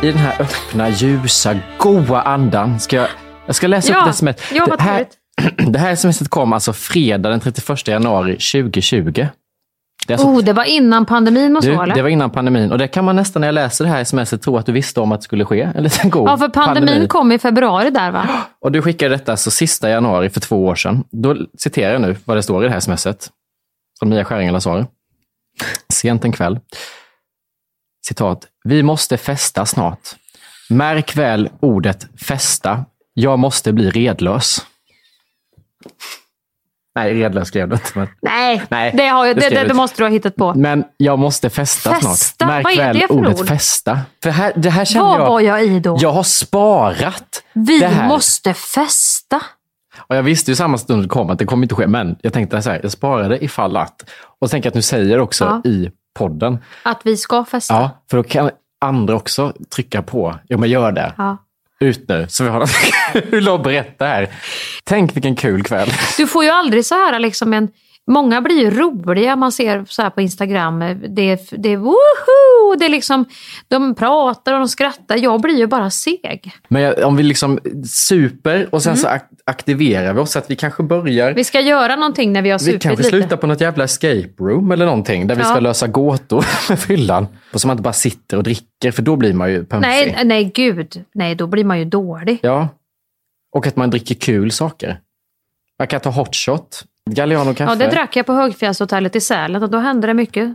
S7: I den här öppna, ljusa, goa andan ska jag... Jag ska läsa
S8: Ja,
S7: upp det som ett...
S8: ja, vad
S7: det, här, det här smset kom alltså fredag den 31 januari 2020. Det är alltså
S8: Oh, det var innan pandemin och så,
S7: Du,
S8: eller?
S7: det var oh, innan pandemin och det kan man nästan när jag läser det här smset tro att du visste om att det skulle ske. En liten god
S8: ja, för pandemin kom i februari där, va?
S7: Och du skickade detta så sista januari för två år sedan. Då citerar jag nu vad det står i det här smset. Från Mia Skäringala svar. Sent en kväll. Citat. Vi måste festa snart. Märk väl ordet festa. Jag måste bli redlös. Nej, redlös skrev du inte. Men...
S8: Nej,
S7: Nej,
S8: det, har jag,
S7: det
S8: det,
S7: skrev
S8: det,
S7: du
S8: det
S7: inte.
S8: måste du ha hittat på.
S7: Men jag måste festa,
S8: Festa?
S7: snart. Märk
S8: Vad är
S7: väl
S8: det för
S7: ordet
S8: ord?
S7: festa. För här, det här känner
S8: Vad
S7: jag...
S8: var jag i då?
S7: Jag har sparat det
S8: Vi
S7: här.
S8: måste festa.
S7: Och jag visste ju samma stund det kom att det kommer inte ske, men jag tänkte så här, jag sparade ifall att. Och tänker att nu säger jag också
S8: Ja.
S7: i podden.
S8: Att vi ska festa.
S7: Ja, för då kan andra också trycka på. Jo, men gör det.
S8: Ja.
S7: Ut nu, så vi har hur låg brett det här. Tänk vilken kul kväll.
S8: Du får ju aldrig så här liksom en... Många blir ju roliga, man ser så här på Instagram. eh, Det är, det är woho! Det är liksom, de pratar och de skrattar. Jag blir ju bara seg.
S7: Men jag, om vi liksom super och sen så ak- aktiverar vi oss, så att vi kanske börjar
S8: Mm. Vi ska göra någonting när vi har
S7: Vi
S8: supit
S7: kanske
S8: lite.
S7: slutar på något jävla escape room eller någonting där vi
S8: Ja.
S7: ska lösa gåtor med fyllan. Och så man inte bara sitter och dricker för då blir man ju pömsig.
S8: Nej, nej, gud. Nej, då blir man ju dålig.
S7: Ja. Och att man dricker kul saker. Man kan ta hot shot, Galliano kaffe.
S8: Ja, det drack jag på Högfjällshotellet i Sälen och då hände det mycket,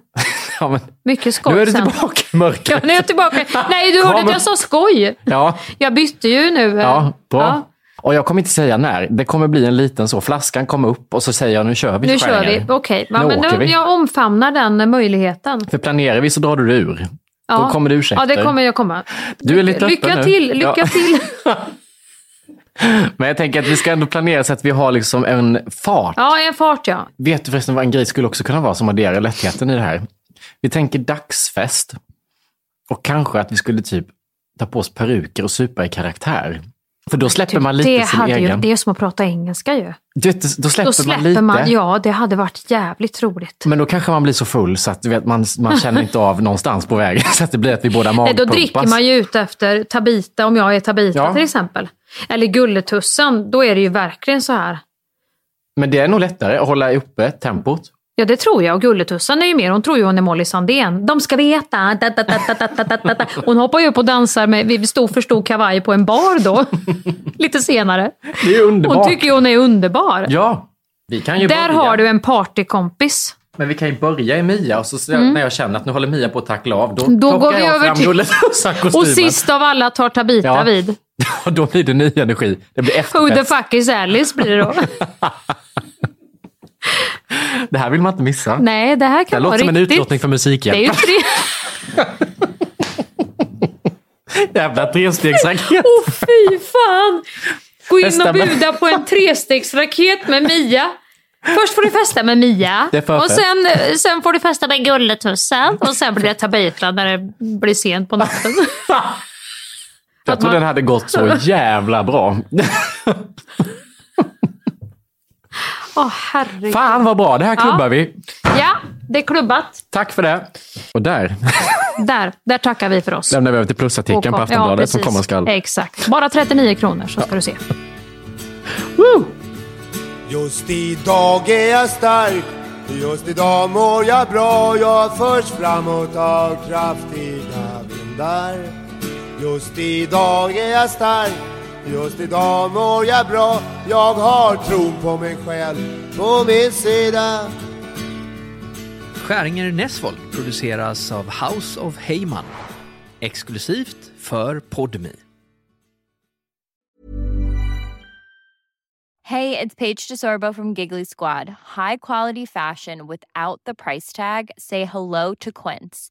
S7: Ja, men,
S8: mycket skoj
S7: nu är du
S8: sen.
S7: tillbaka i mörkret.
S8: Ja, nu är jag tillbaka. Nej, du hörde
S7: Kom.
S8: inte jag sa skoj.
S7: Ja,
S8: Jag bytte ju nu. eh,
S7: ja bra.
S8: ja.
S7: Och jag kommer inte säga när. Det kommer bli en liten så. Flaskan kommer upp och så säger jag nu kör vi.
S8: Nu
S7: till
S8: kör vi.
S7: Skärningar.
S8: Okej, ja,
S7: Nu
S8: men
S7: åker
S8: nu,
S7: vi.
S8: jag omfamnar den eh, möjligheten.
S7: För planerar vi så drar du det ur. Då kommer det ursäkter.
S8: Ja, det kommer jag komma.
S7: Du är lite öppen
S8: lycka
S7: nu.
S8: till, lycka
S7: Ja.
S8: till.
S7: Men jag tänker att vi ska ändå planera så att vi har liksom en fart.
S8: Ja, en fart ja.
S7: Vet du förresten vad en grej skulle också kunna vara som adderar lättheten i det här? Vi tänker dagsfest. Och kanske att vi skulle typ ta på oss peruker och supa i karaktär. För då släpper man lite
S8: Typ det,
S7: sin
S8: hade ju,
S7: egen...
S8: det är som att prata engelska ju.
S7: Du vet, då släpper,
S8: Då släpper
S7: man lite.
S8: man, ja det hade varit jävligt roligt.
S7: Men då kanske man blir så full så att du vet, man, man känner inte av någonstans på vägen. Så att det blir att vi båda
S8: Nej, då
S7: magpumpas.
S8: dricker man ju ut efter Tabita, om jag är Tabita
S7: Ja.
S8: till exempel. Eller Gulletussan, då är det ju verkligen så här.
S7: Men det är nog lättare att hålla uppe tempot.
S8: Ja, det tror jag. Och Gulletussan är ju mer, hon tror ju hon är Molly Sandén. De ska veta. Da, da, da, da, da, da, da, da. Hon hoppar ju upp och dansar med vid stor för stor kavaj på en bar då. Lite senare.
S7: Det är ju underbart.
S8: Hon tycker ju hon är underbar.
S7: Ja, vi kan ju
S8: Där
S7: börja.
S8: har du en partykompis.
S7: Men vi kan ju börja i Mia och så, så
S8: Mm.
S7: när jag känner att nu håller Mia på att tackla av, då,
S8: Då
S7: plockar
S8: går vi
S7: jag
S8: över
S7: fram
S8: till-
S7: Gulletussan-kostymen.
S8: Och sist av alla tar Tabita
S7: Ja.
S8: vid.
S7: Och då blir det ny energi. Det blir
S8: Who the
S7: efterfest.
S8: fuck is Alice blir det då.
S7: Det här vill man inte missa.
S8: Nej, det här
S7: det här
S8: kan vara
S7: låter som en
S8: riktigt.
S7: utlottning för
S8: det är ju
S7: Musikhjälpen.
S8: tre...
S7: Jävla trestegsraket.
S8: Åh fy fan! Gå in
S7: Festa
S8: och
S7: med-
S8: buda på en trestegsraket med Mia. Först får du festa med Mia.
S7: Det är förfest.
S8: och sen, sen får du festa med Gulletussen. Och sen blir det Tabita när det blir sent på natten.
S7: Jag tror den hade gått så jävla bra.
S8: Åh herregud.
S7: Fan vad bra, det här klubbar
S8: Ja.
S7: vi.
S8: Ja, det är klubbat.
S7: Tack för det. Och där
S8: Där, där tackar vi för oss.
S7: lämnar vi över till plusartikeln
S8: Och kom-
S7: på Aftonbladet
S8: ja,
S7: som
S8: precis.
S7: kommer skall.
S8: Exakt. Bara 39 kronor så ska du se.
S6: Just idag är jag stark Just idag mår jag bra Jag förs framåt av kraftiga vindar Just idag är jag stark Just idag mår jag bra Jag har tron på mig själv På min sida
S13: Skäringer Näsvold produceras av House of Heyman. Exklusivt för Podmi.
S14: Hey, it's Paige DeSorbo from Giggly Squad. High quality fashion without the price tag. Say hello to Quince.